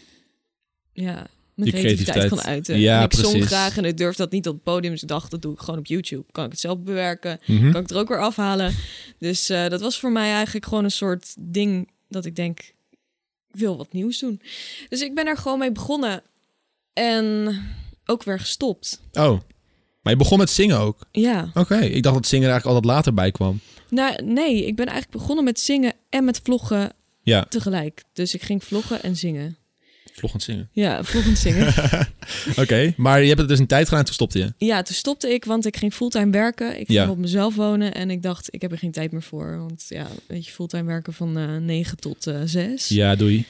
B: ja,
A: Je
B: mijn creativiteit,
A: creativiteit.
B: kan uiten.
A: Ja,
B: En ik zong
A: precies.
B: graag en ik durfde dat niet op het podium. Dus ik dacht, dat doe ik gewoon op YouTube. Kan ik het zelf bewerken?
A: Mhm.
B: Kan ik het er ook weer afhalen? Dus eh, dat was voor mij eigenlijk gewoon een soort ding dat ik denk, ik wil wat nieuws doen. Dus ik ben er gewoon mee begonnen. En ook weer gestopt.
A: oh. Maar je begon met zingen ook?
B: Ja.
A: Oké, ik dacht dat zingen er eigenlijk altijd later bij kwam.
B: Nou, nee, ik ben eigenlijk begonnen met zingen en met vloggen
A: Ja,
B: tegelijk. Dus ik ging vloggen en zingen.
A: vloggend zingen.
B: Ja, vloggend zingen.
A: Oké, maar je hebt het dus een tijd gedaan en toen stopte je?
B: Ja, toen stopte ik, want ik ging fulltime werken. Ik ging
A: Ja.
B: op mezelf wonen en ik dacht, ik heb er geen tijd meer voor. Want ja, weet je, fulltime werken van eh 9 tot eh 6. Ja,
A: Ja, doei.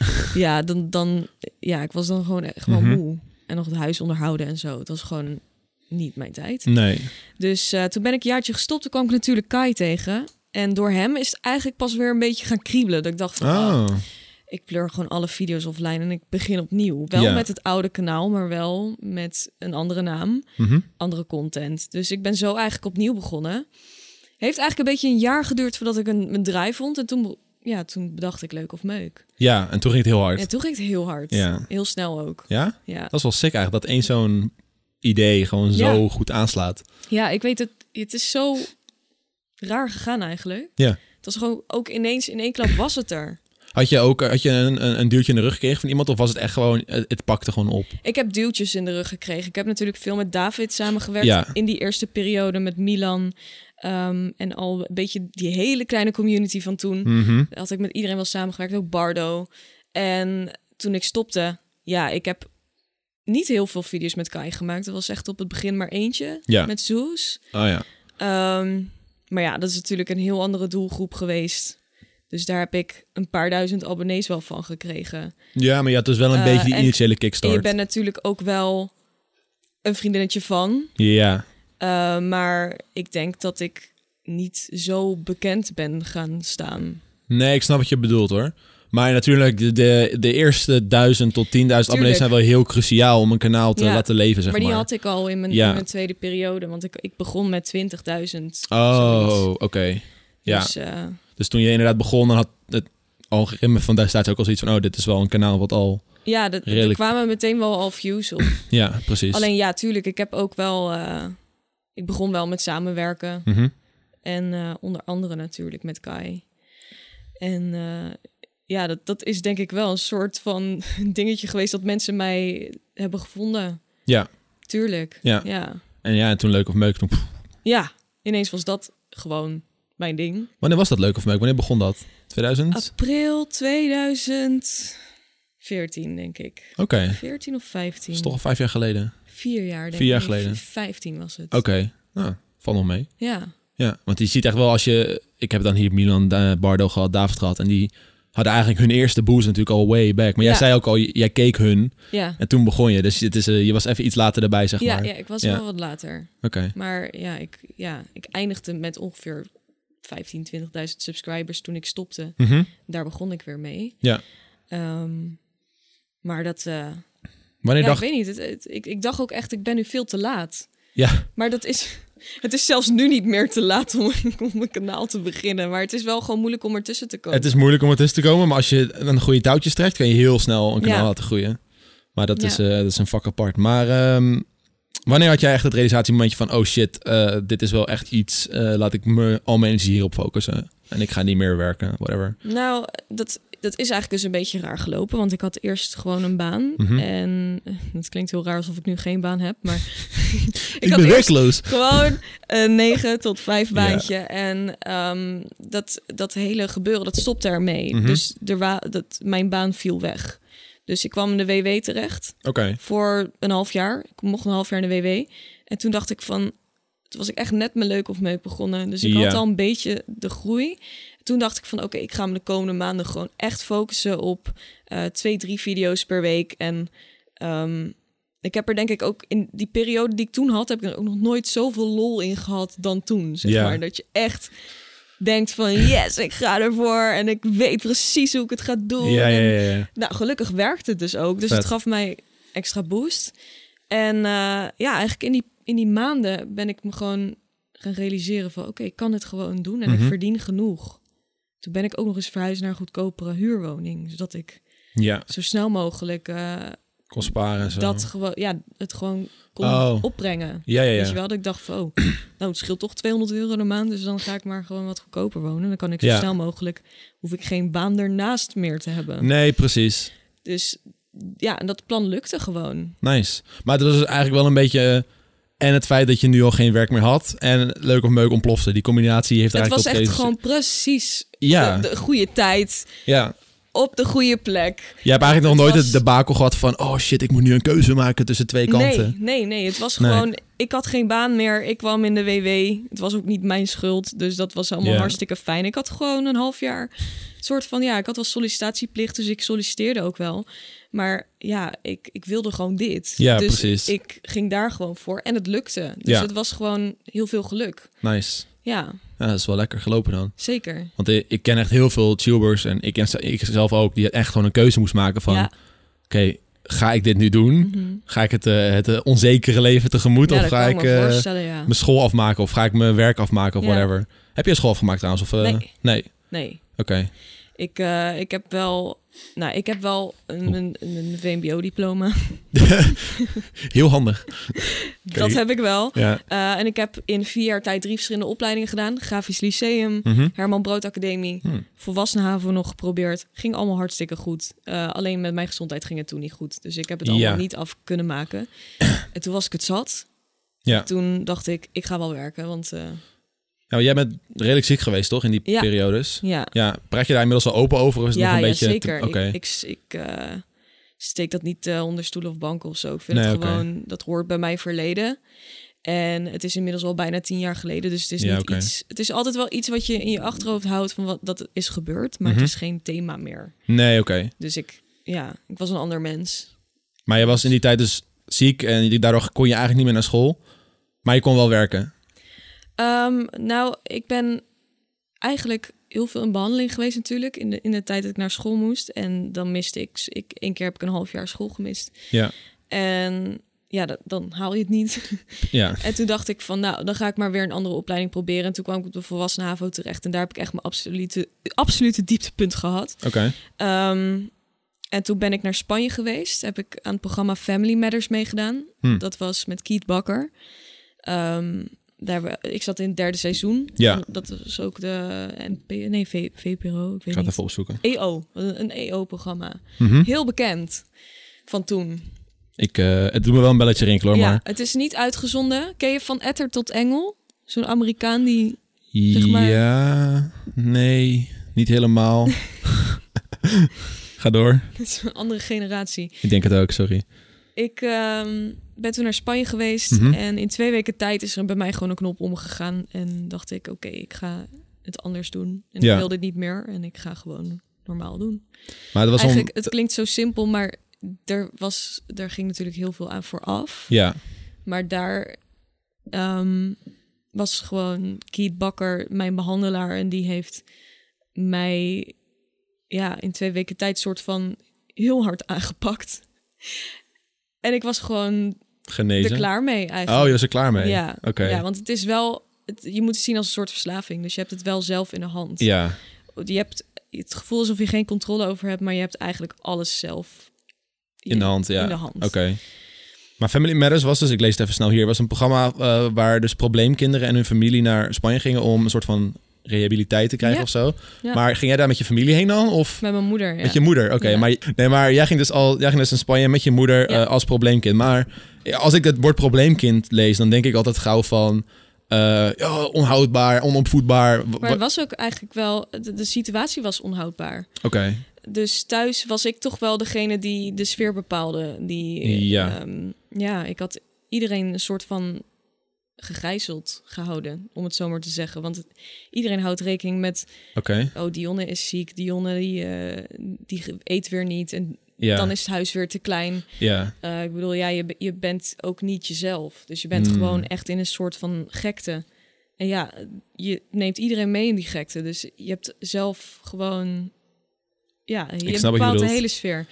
B: dan, dan, ja ik was dan gewoon echt gewoon
A: Mhm.
B: moe. En nog het huis onderhouden en zo. Het was gewoon niet mijn tijd.
A: Nee.
B: Dus eh, toen ben ik een jaartje gestopt. Toen kwam ik natuurlijk Kai tegen. En door hem is het eigenlijk pas weer een beetje gaan kriebelen. Dat ik dacht van, ah,
A: Oh,
B: ik pleur gewoon alle video's offline en ik begin opnieuw. Wel
A: Ja.
B: met het oude kanaal, maar wel met een andere naam
A: Mhm.
B: andere content. Dus ik ben zo eigenlijk opnieuw begonnen. Heeft eigenlijk een beetje een jaar geduurd voordat ik een, een draai vond. En toen, be- ja, toen bedacht ik leuk of meuk.
A: Ja, en toen ging het heel hard.
B: En toen ging het heel hard.
A: Ja.
B: Heel snel ook.
A: Ja?
B: Ja.
A: Dat is wel sick eigenlijk, dat één zo'n idee gewoon zo goed aanslaat.
B: ja, ik weet het. Het is zo raar gegaan eigenlijk.
A: Ja.
B: Het was gewoon ook ineens, in één klap was het er.
A: Had je ook had je een, een, een duwtje in de rug gekregen van iemand of was het echt gewoon, het, het pakte gewoon op?
B: Ik heb duwtjes in de rug gekregen. Ik heb natuurlijk veel met David samengewerkt
A: Ja.
B: in die eerste periode met Milan. ehm, en al een beetje die hele kleine community van toen.
A: Mhm.
B: had ik met iedereen wel samengewerkt, ook Bardo. En toen ik stopte, ja, ik heb niet heel veel video's met Kai gemaakt. Dat was echt op het begin maar eentje
A: Ja.
B: met Zoes.
A: Oh ja.
B: Ehm, maar ja, dat is natuurlijk een heel andere doelgroep geweest. Dus daar heb ik een paar duizend abonnees wel van gekregen.
A: Ja, maar je had dus wel een
B: Eh,
A: beetje die
B: en-
A: initiële
B: En je
A: kickstart.
B: bent natuurlijk ook wel een vriendinnetje van.
A: Ja.
B: Eh, maar ik denk dat ik niet zo bekend ben gaan staan.
A: Nee, ik snap wat je bedoelt hoor. Maar natuurlijk, de, de, de eerste duizend tot 10.000 abonnees zijn wel heel cruciaal om een kanaal te
B: Ja,
A: laten leven, zeg
B: maar
A: maar.
B: die had ik al in mijn,
A: Ja.
B: in mijn tweede periode, want ik, ik begon met 20.000.
A: Oh,
B: zoiets.
A: oké. Ja, dus,
B: Dus, eh,
A: toen je inderdaad begon, dan had het algoritme van destijds ook al zoiets van... oh, dit is wel een kanaal wat al...
B: ja, dat, er
A: Redelijk.
B: kwamen meteen wel al views op.
A: Ja, precies.
B: Alleen ja, tuurlijk, ik heb ook wel... eh, ik begon wel met samenwerken.
A: Mhm.
B: En eh, onder andere natuurlijk met Kai. En eh, ja, dat, dat is denk ik wel een soort van dingetje geweest dat mensen mij hebben gevonden.
A: Ja.
B: Tuurlijk.
A: Ja.
B: Ja,
A: En ja, en toen Leuk of Meuk. Toen, pff,
B: Ja, ineens was dat gewoon mijn ding.
A: wanneer was dat Leuk of Meuk? Wanneer begon dat? 2000?
B: Ah, April 2014, denk ik.
A: Oké,
B: 14 of 15?
A: dat is toch al vijf jaar geleden.
B: Vier jaar, denk ik.
A: Vier jaar
B: Nee,
A: geleden.
B: v- 15 was het.
A: Oké, nou, valt nog mee.
B: Ja.
A: Ja, want je ziet echt wel als je... Ik heb dan hier Milan eh, Bardo gehad, David gehad. En die hadden eigenlijk hun eerste boost natuurlijk al way back. Maar jij
B: Ja.
A: zei ook al, j- jij keek hun.
B: Ja.
A: En toen begon je. Dus het is, eh, je was even iets later erbij, zeg
B: Ja,
A: maar.
B: ja, ik was
A: Ja.
B: wel wat later.
A: Oké,
B: Maar ja, ik, ja, ik eindigde met ongeveer 15, 20.000 subscribers toen ik stopte.
A: Mhm.
B: Daar begon ik weer mee.
A: ja.
B: Ehm, maar dat... eh,
A: Wanneer
B: ja,
A: dacht...
B: ik weet niet. Het, het- ik, ik dacht ook echt, ik ben nu veel te laat.
A: Ja,
B: Maar dat is, het is zelfs nu niet meer te laat om, om een kanaal te beginnen. Maar het is wel gewoon moeilijk om ertussen te komen.
A: het is moeilijk om ertussen te komen. Maar als je een goede touwtjes trekt, kan je heel snel een kanaal
B: Ja.
A: laten groeien. Maar dat,
B: Ja.
A: is, eh, dat is een vak apart. Maar ehm, wanneer had jij echt het realisatiemomentje van... Oh shit, eh, dit is wel echt iets. eh, laat ik me, al mijn energie hierop focussen. En ik ga niet meer werken, whatever.
B: Nou, dat, dat is eigenlijk dus een beetje raar gelopen. Want ik had eerst gewoon een baan.
A: Mhm.
B: En eh, het klinkt heel raar alsof ik nu geen baan heb. Maar ik,
A: Ik,
B: had
A: ben
B: eerst
A: werkloos.
B: gewoon een 9 tot 5
A: Ja.
B: baantje. En ehm, dat, dat hele gebeuren, dat stopte ermee.
A: Mhm.
B: Dus er wa- dat, mijn baan viel weg. Dus ik kwam in de WW terecht.
A: Oké.
B: voor een half jaar. Ik mocht een half jaar in de WW. En toen dacht ik van, toen was ik echt net mijn leuk of meuk begonnen. Dus ik
A: Ja.
B: had al een beetje de groei. Toen dacht ik van, oké, ik ga me de komende maanden gewoon echt focussen op eh, twee, drie video's per week. En ehm, ik heb er denk ik ook in die periode die ik toen had, heb ik er ook nog nooit zoveel lol in gehad dan toen. Zeg
A: Ja.
B: maar dat je echt denkt van, yes, ik ga ervoor en ik weet precies hoe ik het ga doen.
A: Ja, ja,
B: En
A: ja, ja.
B: nou, gelukkig werkte het dus ook. Dus
A: Vet.
B: het gaf mij extra boost. En eh, ja, eigenlijk in die, in die maanden ben ik me gewoon gaan realiseren van... oké, ik kan het gewoon doen en
A: Mhm.
B: ik verdien genoeg. Toen ben ik ook nog eens verhuisd naar een goedkopere huurwoning. Zodat ik
A: Ja,
B: zo snel mogelijk eh,
A: kon sparen en zo.
B: dat gewoon, ja, het gewoon kon
A: Oh.
B: opbrengen.
A: Ja, ja,
B: Weet
A: ja.
B: je wel, dat ik dacht van, oh, nou, het scheelt toch 200 euro de maand... dus dan ga ik maar gewoon wat goedkoper wonen. Dan kan ik zo
A: Ja.
B: snel mogelijk, hoef ik geen baan ernaast meer te hebben.
A: Nee, precies.
B: Dus ja, en dat plan lukte gewoon.
A: Nice. Maar dat was dus eigenlijk wel een beetje... eh, En het feit dat je nu al geen werk meer had. En leuk of meuk ontplofte. Die combinatie heeft
B: het was
A: eigenlijk...
B: echt
A: tot
B: gewoon precies
A: deze- Ja,
B: de, de goede tijd,
A: ja.
B: op de goede plek.
A: Je hebt eigenlijk nog
B: Het
A: nooit
B: was-
A: het debakel gehad van... Oh shit, ik moet nu een keuze maken tussen twee kanten.
B: Nee, nee, nee. Het was
A: Nee.
B: gewoon, ik had geen baan meer. Ik kwam in de WW. Het was ook niet mijn schuld. Dus dat was allemaal
A: Ja.
B: hartstikke fijn. Ik had gewoon een half jaar soort van, ja, ik had wel sollicitatieplicht. Dus ik solliciteerde ook wel. Maar ja, ik, ik wilde gewoon dit.
A: Ja,
B: dus
A: precies.
B: ik ging daar gewoon voor. En het lukte. Dus
A: Ja.
B: het was gewoon heel veel geluk.
A: Nice.
B: Ja,
A: Ja, dat is wel lekker gelopen dan.
B: zeker.
A: Want ik ik ken echt heel veel tubers. En ik, ken, ze- ik zelf ook. Die echt gewoon een keuze moest maken van...
B: ja.
A: Oké, ga ik dit nu doen?
B: Mhm.
A: Ga ik het, eh, het eh, onzekere leven tegemoet?
B: Ja,
A: of
B: dat
A: ga
B: kan
A: ik...
B: me
A: eh,
B: voorstellen, ja.
A: mijn school afmaken of ga ik mijn werk afmaken of
B: Ja.
A: whatever. Heb je een school afgemaakt trouwens? Of, eh,
B: Nee.
A: nee?
B: Nee,
A: Oké.
B: ik, eh, ik heb wel, nou, ik heb wel een, een, een VMBO-diploma.
A: Heel handig.
B: Dat heb ik wel.
A: Ja.
B: Eh, en ik heb in vier jaar tijd drie verschillende opleidingen gedaan. Grafisch Lyceum,
A: Mhm.
B: Herman Brood Academie,
A: Hm.
B: Volwassenenhaven nog geprobeerd. Ging allemaal hartstikke goed. Eh, alleen met mijn gezondheid ging het toen niet goed. Dus ik heb het allemaal
A: Ja.
B: niet af kunnen maken. en toen was ik het zat.
A: Ja.
B: Toen dacht ik, ik ga wel werken. Want eh,
A: Nou, jij bent redelijk ziek geweest, toch? In die
B: Ja.
A: periodes.
B: ja,
A: Ja. Praat je daar inmiddels al open over? Of is het
B: ja,
A: nog een
B: ja,
A: beetje... te-
B: zeker.
A: Oké.
B: Ik, ik, ik eh, steek dat niet eh, onder stoelen of banken of zo. Ik vind
A: Nee,
B: het
A: oké.
B: gewoon, dat hoort bij mijn verleden. En het is inmiddels al bijna tien jaar geleden. Dus het is,
A: Ja,
B: niet
A: oké.
B: iets, het is altijd wel iets wat je in je achterhoofd houdt van wat dat is gebeurd. Maar
A: Mhm.
B: het is geen thema meer.
A: Nee, oké.
B: Dus ik, ja, ik was een ander mens.
A: Maar je was in die tijd dus ziek en je- daardoor kon je eigenlijk niet meer naar school. Maar je kon wel werken.
B: Ehm, nou, ik ben eigenlijk heel veel in behandeling geweest natuurlijk. In de, in de tijd dat ik naar school moest. En dan miste ik, ik... één keer heb ik een half jaar school gemist.
A: Ja.
B: En ja, dat- dan haal je het niet.
A: Ja.
B: en toen dacht ik van, nou, dan ga ik maar weer een andere opleiding proberen. En toen kwam ik op de volwassen HAVO terecht. En daar heb ik echt mijn absolute, absolute dieptepunt gehad.
A: Oké.
B: Ehm, en toen ben ik naar Spanje geweest. Heb ik aan het programma Family Matters meegedaan.
A: Hm.
B: Dat was met Keith Bakker. Ehm, daar, hebben we- ik zat in het derde seizoen.
A: Ja.
B: Dat was ook de NP, nee, V- VPRO, ik
A: Ik ga
B: weet
A: het
B: niet.
A: even opzoeken.
B: EO, een een EO-programma.
A: Mhm.
B: Heel bekend van toen.
A: Ik, eh, het doet me wel een belletje rinkelen, hoor,
B: Ja,
A: maar...
B: het is niet uitgezonden. Ken je Van Etter tot Engel? Zo'n Amerikaan die... Zeg maar-
A: Ja, nee, niet helemaal. Ga door.
B: Het is een andere generatie.
A: Ik denk het ook, sorry.
B: Ik ehm, ben toen naar Spanje geweest.
A: Mhm.
B: En in twee weken tijd is er bij mij gewoon een knop omgegaan. En dacht ik, oké, ik ga het anders doen. En
A: Ja.
B: ik wil dit niet meer. En ik ga gewoon normaal doen.
A: Maar het was om...
B: Eigenlijk, het klinkt zo simpel, maar er, was, er ging natuurlijk heel veel aan vooraf.
A: Ja,
B: Maar daar ehm, was gewoon Keith Bakker mijn behandelaar. En die heeft mij ja, in twee weken tijd soort van heel hard aangepakt. En ik was gewoon
A: genezen.
B: er klaar mee
A: oh,
B: eigenlijk.
A: je was er klaar mee?
B: ja.
A: Oké.
B: ja, want het is wel... Het, je moet het zien als een soort verslaving. Dus je hebt het wel zelf in de hand.
A: Ja.
B: Je hebt het gevoel alsof je geen controle over hebt... maar je hebt eigenlijk alles zelf
A: In de hand, ja.
B: in de hand.
A: Oké. Maar Family Matters was dus, ik lees het even snel hier, was een programma eh, waar dus probleemkinderen en hun familie naar Spanje gingen om een soort van rehabiliteit te krijgen
B: Ja.
A: of zo.
B: Ja.
A: Maar ging jij daar met je familie heen dan? Of
B: Met mijn moeder, ja.
A: met je moeder? Oké,
B: Ja.
A: maar, nee, maar jij ging dus al, jij ging dus in Spanje met je moeder
B: Ja.
A: eh, als probleemkind. Maar als ik het woord probleemkind lees, dan denk ik altijd gauw van eh, ja, onhoudbaar, onopvoedbaar. w-
B: Maar
A: w-
B: het was ook eigenlijk wel, de, de situatie was onhoudbaar.
A: Oké,
B: Dus thuis was ik toch wel degene die de sfeer bepaalde. Die,
A: Ja.
B: ehm, ja, ik had iedereen een soort van gegijzeld gehouden, om het zo maar te zeggen. Want het- iedereen houdt rekening met,
A: oké.
B: oh, Dionne is ziek, Dionne die, eh, die ge- eet weer niet en
A: Ja,
B: dan is het huis weer te klein.
A: ja,
B: Eh, ik bedoel, ja, je, be- je bent ook niet jezelf. Dus je bent
A: Hmm.
B: gewoon echt in een soort van gekte. En ja, je neemt iedereen mee in die gekte. Dus je hebt zelf gewoon... Ja, je
A: snap wat je
B: bepaalt de
A: bedoelt.
B: hele sfeer.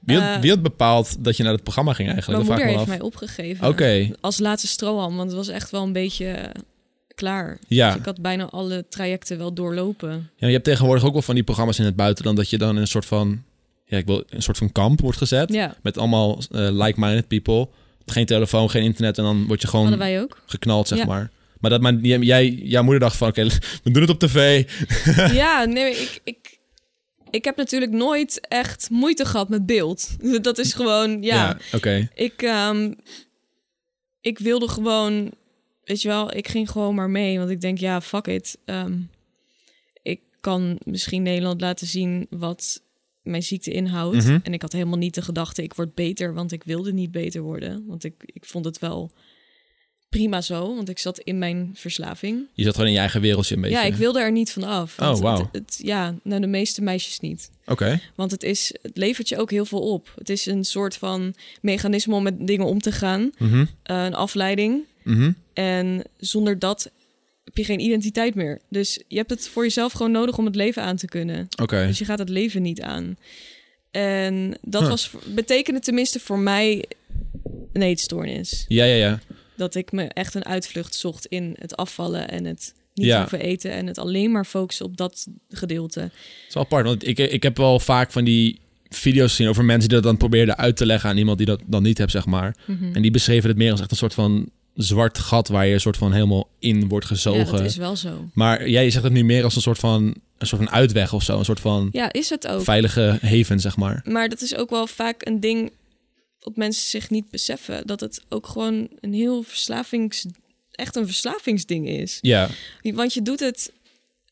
A: Wie had,
B: eh,
A: wie had bepaald dat je naar het programma ging
B: Mijn
A: eigenlijk? Dat
B: moeder
A: vraag ik me
B: heeft
A: af.
B: mij opgegeven.
A: Oké,
B: Als laatste strohalm, want het was echt wel een beetje eh, klaar.
A: ja.
B: Dus ik had bijna alle trajecten wel doorlopen.
A: Ja, maar je hebt tegenwoordig ook wel van die programma's in het buitenland dat je dan in een soort van, ja, ik wil een soort van kamp wordt gezet
B: Ja,
A: met allemaal eh, like-minded people, geen telefoon, geen internet en dan word je
B: hadden
A: gewoon
B: wij ook.
A: geknald zeg
B: Ja.
A: maar. Maar dat maar jij- jij, jouw moeder dacht van, oké, we doen het op tv.
B: Ja, nee, ik, ik, ik heb natuurlijk nooit echt moeite gehad met beeld. Dat is gewoon, ja.
A: oké.
B: Ik, ehm, ik wilde gewoon, weet je wel, ik ging gewoon maar mee. Want ik denk, ja, fuck it. Ehm, ik kan misschien Nederland laten zien wat mijn ziekte inhoudt.
A: Mhm.
B: En ik had helemaal niet de gedachte, ik word beter, want ik wilde niet beter worden. Want ik, ik vond het wel prima zo, want ik zat in mijn verslaving.
A: Je zat gewoon in je eigen wereldje een beetje.
B: Ja, ik wilde er niet van af.
A: Oh,
B: want
A: wauw.
B: het- het- Ja, nou, de meeste meisjes niet.
A: Oké,
B: Want het, is, het levert je ook heel veel op. Het is een soort van mechanisme om met dingen om te gaan.
A: Mhm.
B: Eh, een afleiding.
A: Mhm.
B: En zonder dat heb je geen identiteit meer. Dus je hebt het voor jezelf gewoon nodig om het leven aan te kunnen.
A: oké.
B: Dus je gaat het leven niet aan. En dat
A: Huh.
B: was, betekende tenminste voor mij een eetstoornis.
A: Ja, ja, ja.
B: Dat ik me echt een uitvlucht zocht in het afvallen en het niet
A: Ja.
B: hoeven eten. En het alleen maar focussen op dat gedeelte.
A: Het is wel apart, want ik, ik heb wel vaak van die video's gezien over mensen die dat dan probeerden uit te leggen aan iemand die dat dan niet heeft, zeg maar. En die beschreven het meer als echt een soort van zwart gat waar je een soort van helemaal in wordt
B: Ja,
A: gezogen.
B: dat is wel zo.
A: Maar jij zegt het nu meer als een soort van, een soort van uitweg of zo. Een soort van
B: Ja, is het ook.
A: veilige haven, zeg maar.
B: Maar dat is ook wel vaak een ding dat mensen zich niet beseffen. Dat het ook gewoon een heel verslavings... Echt een verslavingsding is.
A: Ja,
B: Want je doet het...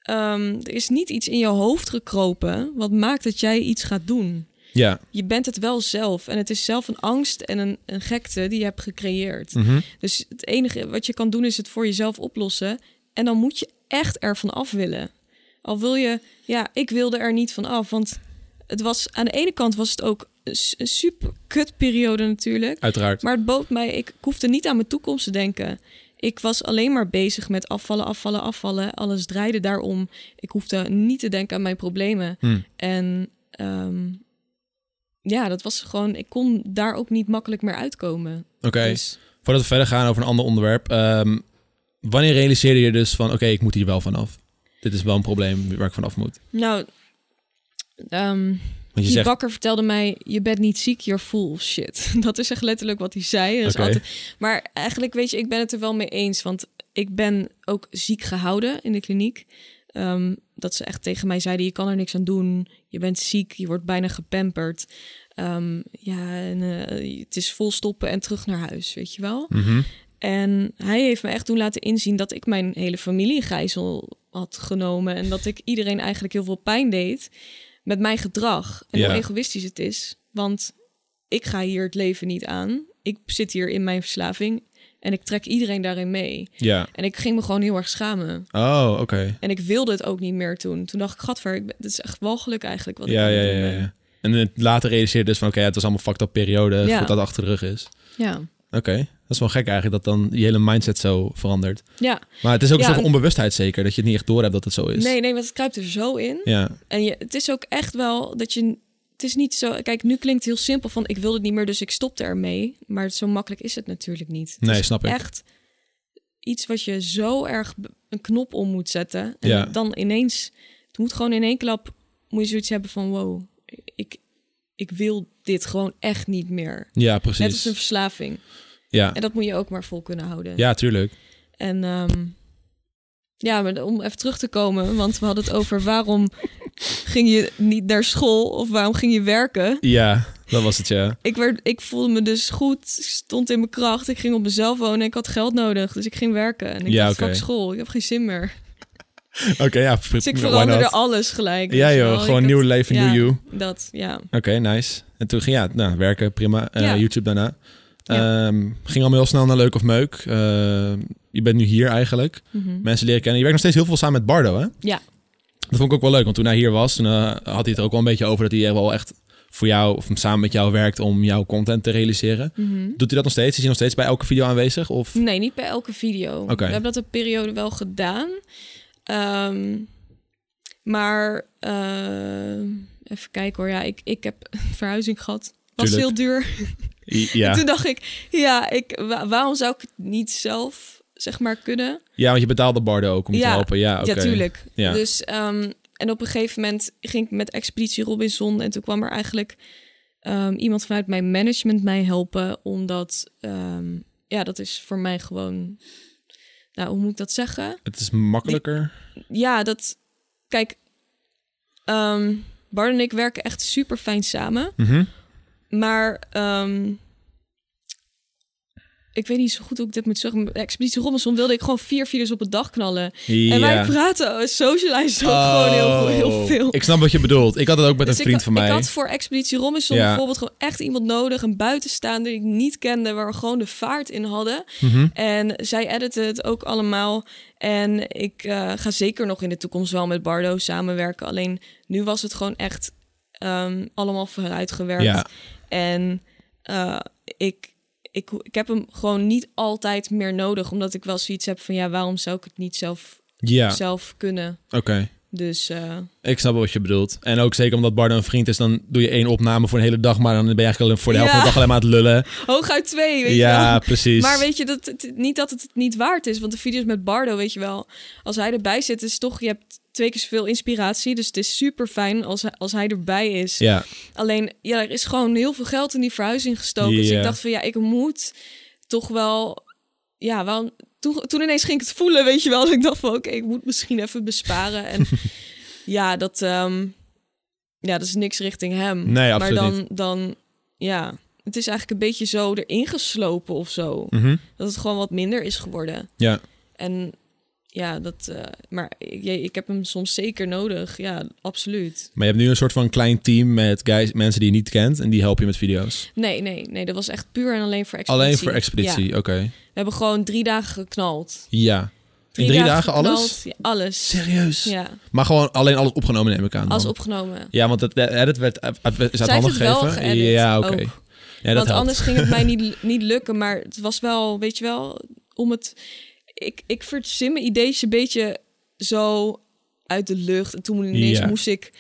B: ehm, er is niet iets in je hoofd gekropen... wat maakt dat jij iets gaat doen.
A: ja.
B: Je bent het wel zelf. En het is zelf een angst en een, een gekte die je hebt gecreëerd.
A: Mhm.
B: Dus het enige wat je kan doen is het voor jezelf oplossen. En dan moet je echt ervan af willen. Al wil je, ja, ik wilde er niet van af. Want het was, aan de ene kant was het ook een, s- een super kut periode natuurlijk.
A: Uiteraard.
B: Maar het bood mij, ik ik hoefde niet aan mijn toekomst te denken. Ik was alleen maar bezig met afvallen, afvallen, afvallen. Alles draaide daarom. Ik hoefde niet te denken aan mijn problemen.
A: Hmm.
B: En ehm, ja, dat was gewoon... Ik kon daar ook niet makkelijk meer uitkomen.
A: Oké,
B: Dus
A: voordat we verder gaan over een ander onderwerp. ehm, wanneer realiseerde je dus van, oké, ik moet hier wel vanaf? Dit is wel een probleem waar ik vanaf moet.
B: nou... ehm,
A: Want je
B: die
A: zegt,
B: bakker vertelde mij, je bent niet ziek, you're full of shit. Dat is echt letterlijk wat hij zei. Er is
A: Oké.
B: altijd... Maar eigenlijk, weet je, ik ben het er wel mee eens. Want ik ben ook ziek gehouden in de kliniek. Ehm, dat ze echt tegen mij zeiden, je kan er niks aan doen. Je bent ziek, je wordt bijna gepamperd. Ehm, ja, en, eh, het is volstoppen en terug naar huis, weet je wel.
A: mhm,
B: En hij heeft me echt toen laten inzien dat ik mijn hele familie in gijzel had genomen. En dat ik iedereen eigenlijk heel veel pijn deed met mijn gedrag. En
A: Ja.
B: hoe egoïstisch het is. Want ik ga hier het leven niet aan. Ik zit hier in mijn verslaving. En ik trek iedereen daarin mee.
A: ja.
B: En ik ging me gewoon heel erg schamen.
A: Oh, oké.
B: En ik wilde het ook niet meer toen. Toen dacht ik, gadver, ik ben, dit is echt walgelijk eigenlijk wat
A: Ja,
B: ik aan
A: ja,
B: het
A: ja,
B: doen
A: ja,
B: ben.
A: ja. En het later realiseerde dus van, oké, ja, het was allemaal fucked up periode,
B: Ja.
A: voordat dat achter de rug is.
B: Ja.
A: Oké, dat is wel gek eigenlijk, dat dan die hele mindset zo verandert.
B: ja.
A: Maar het is ook
B: Ja,
A: een soort van
B: en-
A: onbewustheid zeker, dat je het niet echt doorhebt dat het zo is.
B: Nee, nee, want het kruipt er zo in.
A: Ja,
B: En je, het is ook echt wel dat je. Het is niet zo. Kijk, nu klinkt het heel simpel van ik wil het niet meer, dus ik stopte ermee. Maar zo makkelijk is het natuurlijk niet. Het
A: Nee,
B: is
A: snap ik.
B: Echt iets wat je zo erg b- een knop om moet zetten. En
A: Ja.
B: dan ineens. Het moet gewoon in één klap. Moet je zoiets hebben van: wow, ik, ik wil dit gewoon echt niet meer.
A: ja
B: Net als
A: precies.
B: een verslaving.
A: Ja.
B: En dat moet je ook maar vol kunnen houden.
A: ja, tuurlijk.
B: En ehm, ja, maar om even terug te komen, want we hadden het over waarom ging je niet naar school of waarom ging je werken.
A: Ja, dat was het, ja.
B: Ik, werd, ik voelde me dus goed, stond in mijn kracht, ik ging op mezelf wonen en ik had geld nodig. Dus ik ging werken en ik
A: Ja,
B: dacht,
A: oké.
B: fuck school, ik heb geen zin meer.
A: Oké, ja. pr-
B: Dus ik
A: why
B: veranderde
A: not?
B: alles gelijk.
A: Ja
B: weet je
A: joh,
B: wel.
A: gewoon
B: Ik
A: nieuw
B: had-
A: leven,
B: ja,
A: nieuw you.
B: Dat, ja.
A: Oké, nice. En toen ging ja, nou, werken, prima. Eh,
B: Ja.
A: YouTube daarna.
B: Ja.
A: Ehm, ging allemaal heel snel naar Leuk of Meuk. Ehm, je bent nu hier eigenlijk.
B: Mhm.
A: Mensen leren kennen. Je werkt nog steeds heel veel samen met Bardo, hè?
B: Ja.
A: Dat vond ik ook wel leuk, want toen hij hier was, toen eh, had hij het er ook wel een beetje over dat hij er wel echt voor jou of samen met jou werkt om jouw content te realiseren.
B: Mhm.
A: Doet hij dat nog steeds? Is hij nog steeds bij elke video aanwezig? Of?
B: Nee, niet bij elke video.
A: Oké.
B: We hebben dat een periode wel gedaan. Ehm, maar ehm, even kijken hoor. Ja, ik, ik heb een verhuizing gehad. Was
A: Tuurlijk.
B: heel duur.
A: Ja.
B: Toen dacht ik, ja, ik, wa- waarom zou ik het niet zelf zeg maar kunnen?
A: ja, want je betaalde Bardo ook om je
B: Ja.
A: te helpen. Ja, oké.
B: Ja, tuurlijk.
A: Ja.
B: Dus, ehm, en op een gegeven moment ging ik met Expeditie Robinson. En toen kwam er eigenlijk ehm, iemand vanuit mijn management mij helpen. Omdat, ehm, ja, dat is voor mij gewoon... Nou, hoe moet ik dat zeggen?
A: Het is makkelijker.
B: ja, dat. Kijk, ehm Bart en ik werken echt super fijn samen.
A: Mhm.
B: Maar ehm, ik weet niet zo goed hoe ik dit moet zeggen. Met Expeditie Robinson wilde ik gewoon vier video's op een dag knallen.
A: Ja.
B: En wij praten, eh, socializen ook
A: Oh.
B: gewoon heel, heel veel.
A: Ik snap wat je bedoelt. Ik had het ook met
B: Dus
A: een vriend
B: ik,
A: van mij.
B: ik had voor Expeditie Robinson
A: Ja.
B: bijvoorbeeld gewoon echt iemand nodig. Een buitenstaander die ik niet kende, waar we gewoon de vaart in hadden.
A: Mhm.
B: En zij editen het ook allemaal. En ik eh, ga zeker nog in de toekomst wel met Bardo samenwerken. Alleen nu was het gewoon echt ehm, allemaal vooruitgewerkt.
A: Ja.
B: En eh, ik, ik, ik heb hem gewoon niet altijd meer nodig. Omdat ik wel zoiets heb van ja, waarom zou ik het niet zelf,
A: Ja, oké.
B: zelf kunnen? Dus eh,
A: Ik snap wel wat je bedoelt. En ook zeker omdat Bardo een vriend is, dan doe je één opname voor een hele dag, maar dan ben je eigenlijk alleen voor de helft
B: Ja.
A: van de dag alleen maar aan het lullen.
B: hooguit twee, weet je
A: ja,
B: wel.
A: precies.
B: Maar weet je, dat, het- niet dat het het niet waard is. Want de video's met Bardo, weet je wel. Als hij erbij zit, is toch... Je hebt twee keer zoveel inspiratie. Dus het is super fijn als, hij- als hij erbij is.
A: Ja,
B: Alleen, ja, er is gewoon heel veel geld in die verhuizing gestoken. Dus
A: Ja.
B: ik dacht van, ja, ik moet toch wel... Ja, waarom... Toen, toen ineens ging ik het voelen, weet je wel. En ik dacht van, oké, ik moet misschien even besparen. En ja, dat... ehm, ja, dat is niks richting hem.
A: Nee,
B: maar
A: absoluut
B: dan, dan... Ja, het is eigenlijk een beetje zo erin geslopen of zo
A: Mhm.
B: dat het gewoon wat minder is geworden.
A: ja.
B: En ja, dat. eh, maar ik, je- ik heb hem soms zeker nodig. Ja, absoluut.
A: Maar je hebt nu een soort van klein team met guys, mensen die je niet kent en die helpen je met video's.
B: Nee, nee, nee. Dat was echt puur en alleen voor expeditie.
A: Alleen voor
B: Ja,
A: expeditie, oké.
B: we hebben gewoon drie dagen geknald.
A: Ja. In drie dagen, alles?
B: geknald, ja, alles.
A: Serieus?
B: Ja,
A: Maar gewoon alleen alles opgenomen neem ik aan. dan.
B: alles opgenomen.
A: Ja, want het, de edit werd, uit- uit- is uit
B: Zij
A: handen
B: heeft het wel
A: gegeven.
B: geëdit Oh.
A: Ja, oké.
B: ook.
A: Ja, dat
B: Want
A: helpt.
B: anders ging het mij niet, niet lukken. Maar het was wel, weet je wel, om het. ik, ik verzin mijn ideetje een beetje zo uit de lucht. En toen ineens
A: Ja.
B: moest ik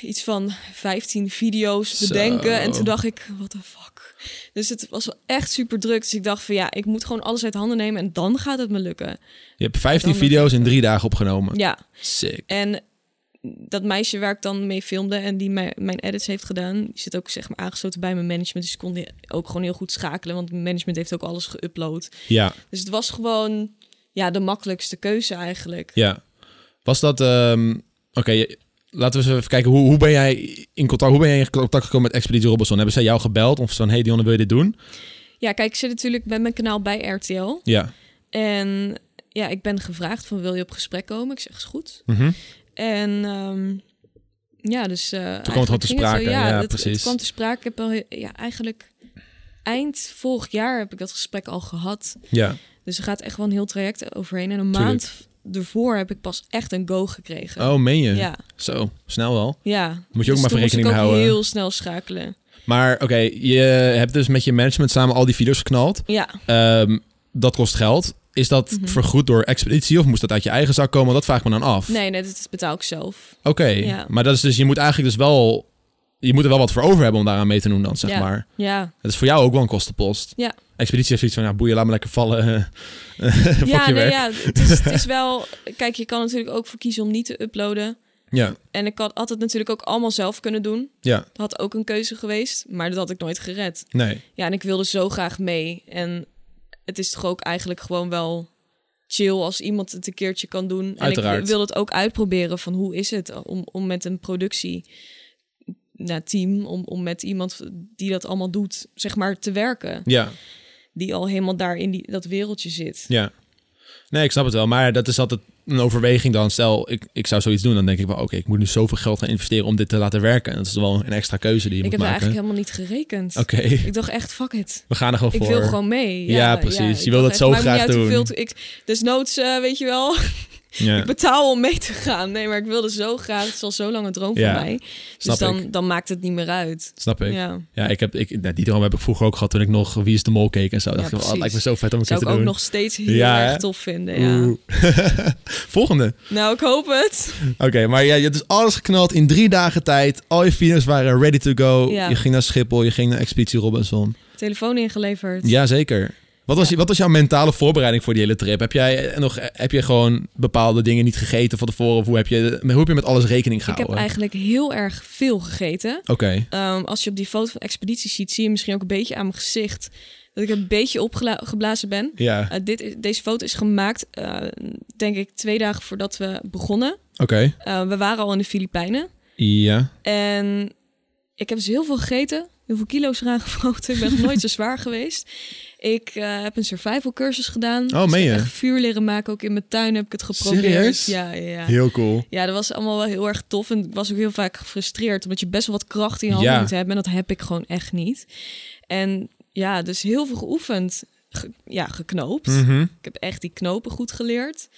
B: iets van 15 video's
A: Zo.
B: bedenken. En toen dacht ik, what the fuck. Dus het was wel echt super druk. Dus ik dacht van ja, ik moet gewoon alles uit handen nemen en dan gaat het me lukken.
A: Je hebt 15
B: Dan nog
A: video's in
B: even.
A: drie dagen opgenomen.
B: Ja,
A: Sick.
B: en dat meisje waar ik dan mee filmde en die mij- mijn edits heeft gedaan, die zit ook zeg maar aangesloten bij mijn management. Dus ik kon die ook gewoon heel goed schakelen, want mijn management heeft ook alles geüpload.
A: Ja,
B: Dus het was gewoon ja, de makkelijkste keuze eigenlijk.
A: ja. Was dat... ehm, Oké, je- laten we eens even kijken. Hoe, hoe ben jij in contact, hoe ben jij in contact gekomen met Expeditie Robinson? Hebben zij jou gebeld? Of zo'n, hey Dionne, wil je dit doen?
B: Ja, kijk, ik zit natuurlijk met mijn kanaal bij RTL.
A: Ja.
B: En ja, ik ben gevraagd van wil je op gesprek komen? Ik zeg, is goed.
A: Mhm.
B: En ehm, ja, dus... eh,
A: kwam het gewoon te
B: eigenlijk ging zo.
A: sprake, ja,
B: het,
A: precies.
B: Het kwam te sprake. Ik heb al, he- ja, eigenlijk eind vorig jaar heb ik dat gesprek al gehad.
A: Ja.
B: Dus er gaat echt wel een heel traject overheen. En een
A: Tuurlijk.
B: maand ervoor heb ik pas echt een go gekregen.
A: Oh, meen je?
B: Ja,
A: Zo, snel wel.
B: ja.
A: Moet je
B: Dus
A: ook maar
B: toen
A: voor
B: moest ik
A: rekening mee
B: ook
A: houden.
B: heel snel schakelen.
A: Maar oké, je hebt dus met je management samen al die video's geknald.
B: Ja,
A: Ehm, dat kost geld. Is dat
B: Mhm.
A: vergoed door Expeditie of moest dat uit je eigen zak komen? Dat vraag ik me dan af.
B: nee, nee, dat betaal ik zelf.
A: Oké,
B: Ja.
A: maar dat is dus, je moet eigenlijk dus wel, je moet er wel wat voor over hebben om daaraan mee te doen dan, zeg
B: Ja.
A: maar.
B: Ja,
A: Het is voor jou ook wel een kostenpost.
B: Ja.
A: Expeditie heeft zoiets van, ja, boeien, laat me lekker vallen. Fuck
B: ja,
A: je
B: nee,
A: werk.
B: ja. Het is, het is wel... Kijk, je kan natuurlijk ook voor kiezen om niet te uploaden.
A: Ja,
B: En ik had, had het natuurlijk ook allemaal zelf kunnen doen.
A: ja,
B: Dat had ook een keuze geweest, maar dat had ik nooit gered.
A: nee.
B: Ja, en ik wilde zo graag mee. En het is toch ook eigenlijk gewoon wel chill als iemand het een keertje kan doen. En
A: Uiteraard.
B: ik wil het ook uitproberen van hoe is het om, om met een productie nou, team, om, om met iemand die dat allemaal doet, zeg maar, te werken.
A: Ja,
B: Die al helemaal daar in die, dat wereldje zit.
A: ja. Nee, ik snap het wel, maar dat is altijd een overweging dan. Stel, ik, ik zou zoiets doen, dan denk ik wel, oké, ik moet nu zoveel geld gaan investeren om dit te laten werken. En dat is wel een extra keuze die je
B: ik
A: moet
B: heb daar
A: maken.
B: eigenlijk helemaal niet gerekend.
A: Oké,
B: Ik dacht echt, fuck it.
A: we gaan er gewoon
B: Ik
A: voor.
B: wil gewoon mee.
A: Ja, precies. Je
B: ik
A: wil
B: dacht
A: dat
B: echt,
A: zo
B: maakt niet
A: graag
B: uit hoeveel
A: doen.
B: te- ik, desnoods, eh, weet je wel,
A: Ja,
B: ik betaal om mee te gaan. Nee, maar ik wilde zo graag. Het was zo lang een droom
A: Ja,
B: van mij.
A: snap
B: Dus
A: ik.
B: dan, dan maakt het niet meer uit.
A: Snap ik. Ja,
B: Ja.
A: ik heb, ik, nou, die droom heb ik vroeger ook gehad toen ik nog Wie is de Mol keek en zo. dacht ik, oh, het
B: precies.
A: lijkt me zo vet om een keer
B: Zou
A: te
B: ik ook
A: doen.
B: nog steeds heel
A: Ja, hè?
B: erg tof vinden. Ja.
A: Oeh. Volgende.
B: Nou, ik hoop het.
A: Oké, maar ja, je hebt dus alles geknald in drie dagen tijd. Al je video's waren ready to go.
B: Ja.
A: Je ging naar Schiphol, je ging naar Expeditie Robinson.
B: Telefoon ingeleverd.
A: Jazeker. Wat was, je- wat was jouw mentale voorbereiding voor die hele trip? Heb jij eh, nog heb je gewoon bepaalde dingen niet gegeten van tevoren? Of hoe heb je, hoe heb je met alles rekening
B: ik heb
A: gehouden?
B: eigenlijk heel erg veel gegeten.
A: Oké,
B: Ehm, als je op die foto van expeditie ziet, zie je misschien ook een beetje aan mijn gezicht dat ik een beetje opgeblazen ben.
A: ja.
B: Eh, dit, is- deze foto is gemaakt, eh, denk ik, twee dagen voordat we begonnen.
A: Oké,
B: Eh, we waren al in de Filipijnen.
A: ja.
B: En ik heb dus heel veel gegeten. Heel veel kilo's eraan gevoten. Ik ben nog nooit zo zwaar geweest. Ik eh, heb een survival cursus gedaan.
A: Oh, meen
B: ik
A: je?
B: heb echt vuur leren maken. Ook in mijn tuin heb ik het geprobeerd.
A: Serieus?
B: Ja, ja, ja.
A: Heel cool.
B: Ja, dat was allemaal wel heel erg tof. En ik was ook heel vaak gefrustreerd. Omdat je best wel wat kracht in je handen
A: Ja.
B: moet hebben. En dat heb ik gewoon echt niet. En ja, dus heel veel geoefend. Ge- ja, geknoopt.
A: Mhm.
B: Ik heb echt die knopen goed geleerd.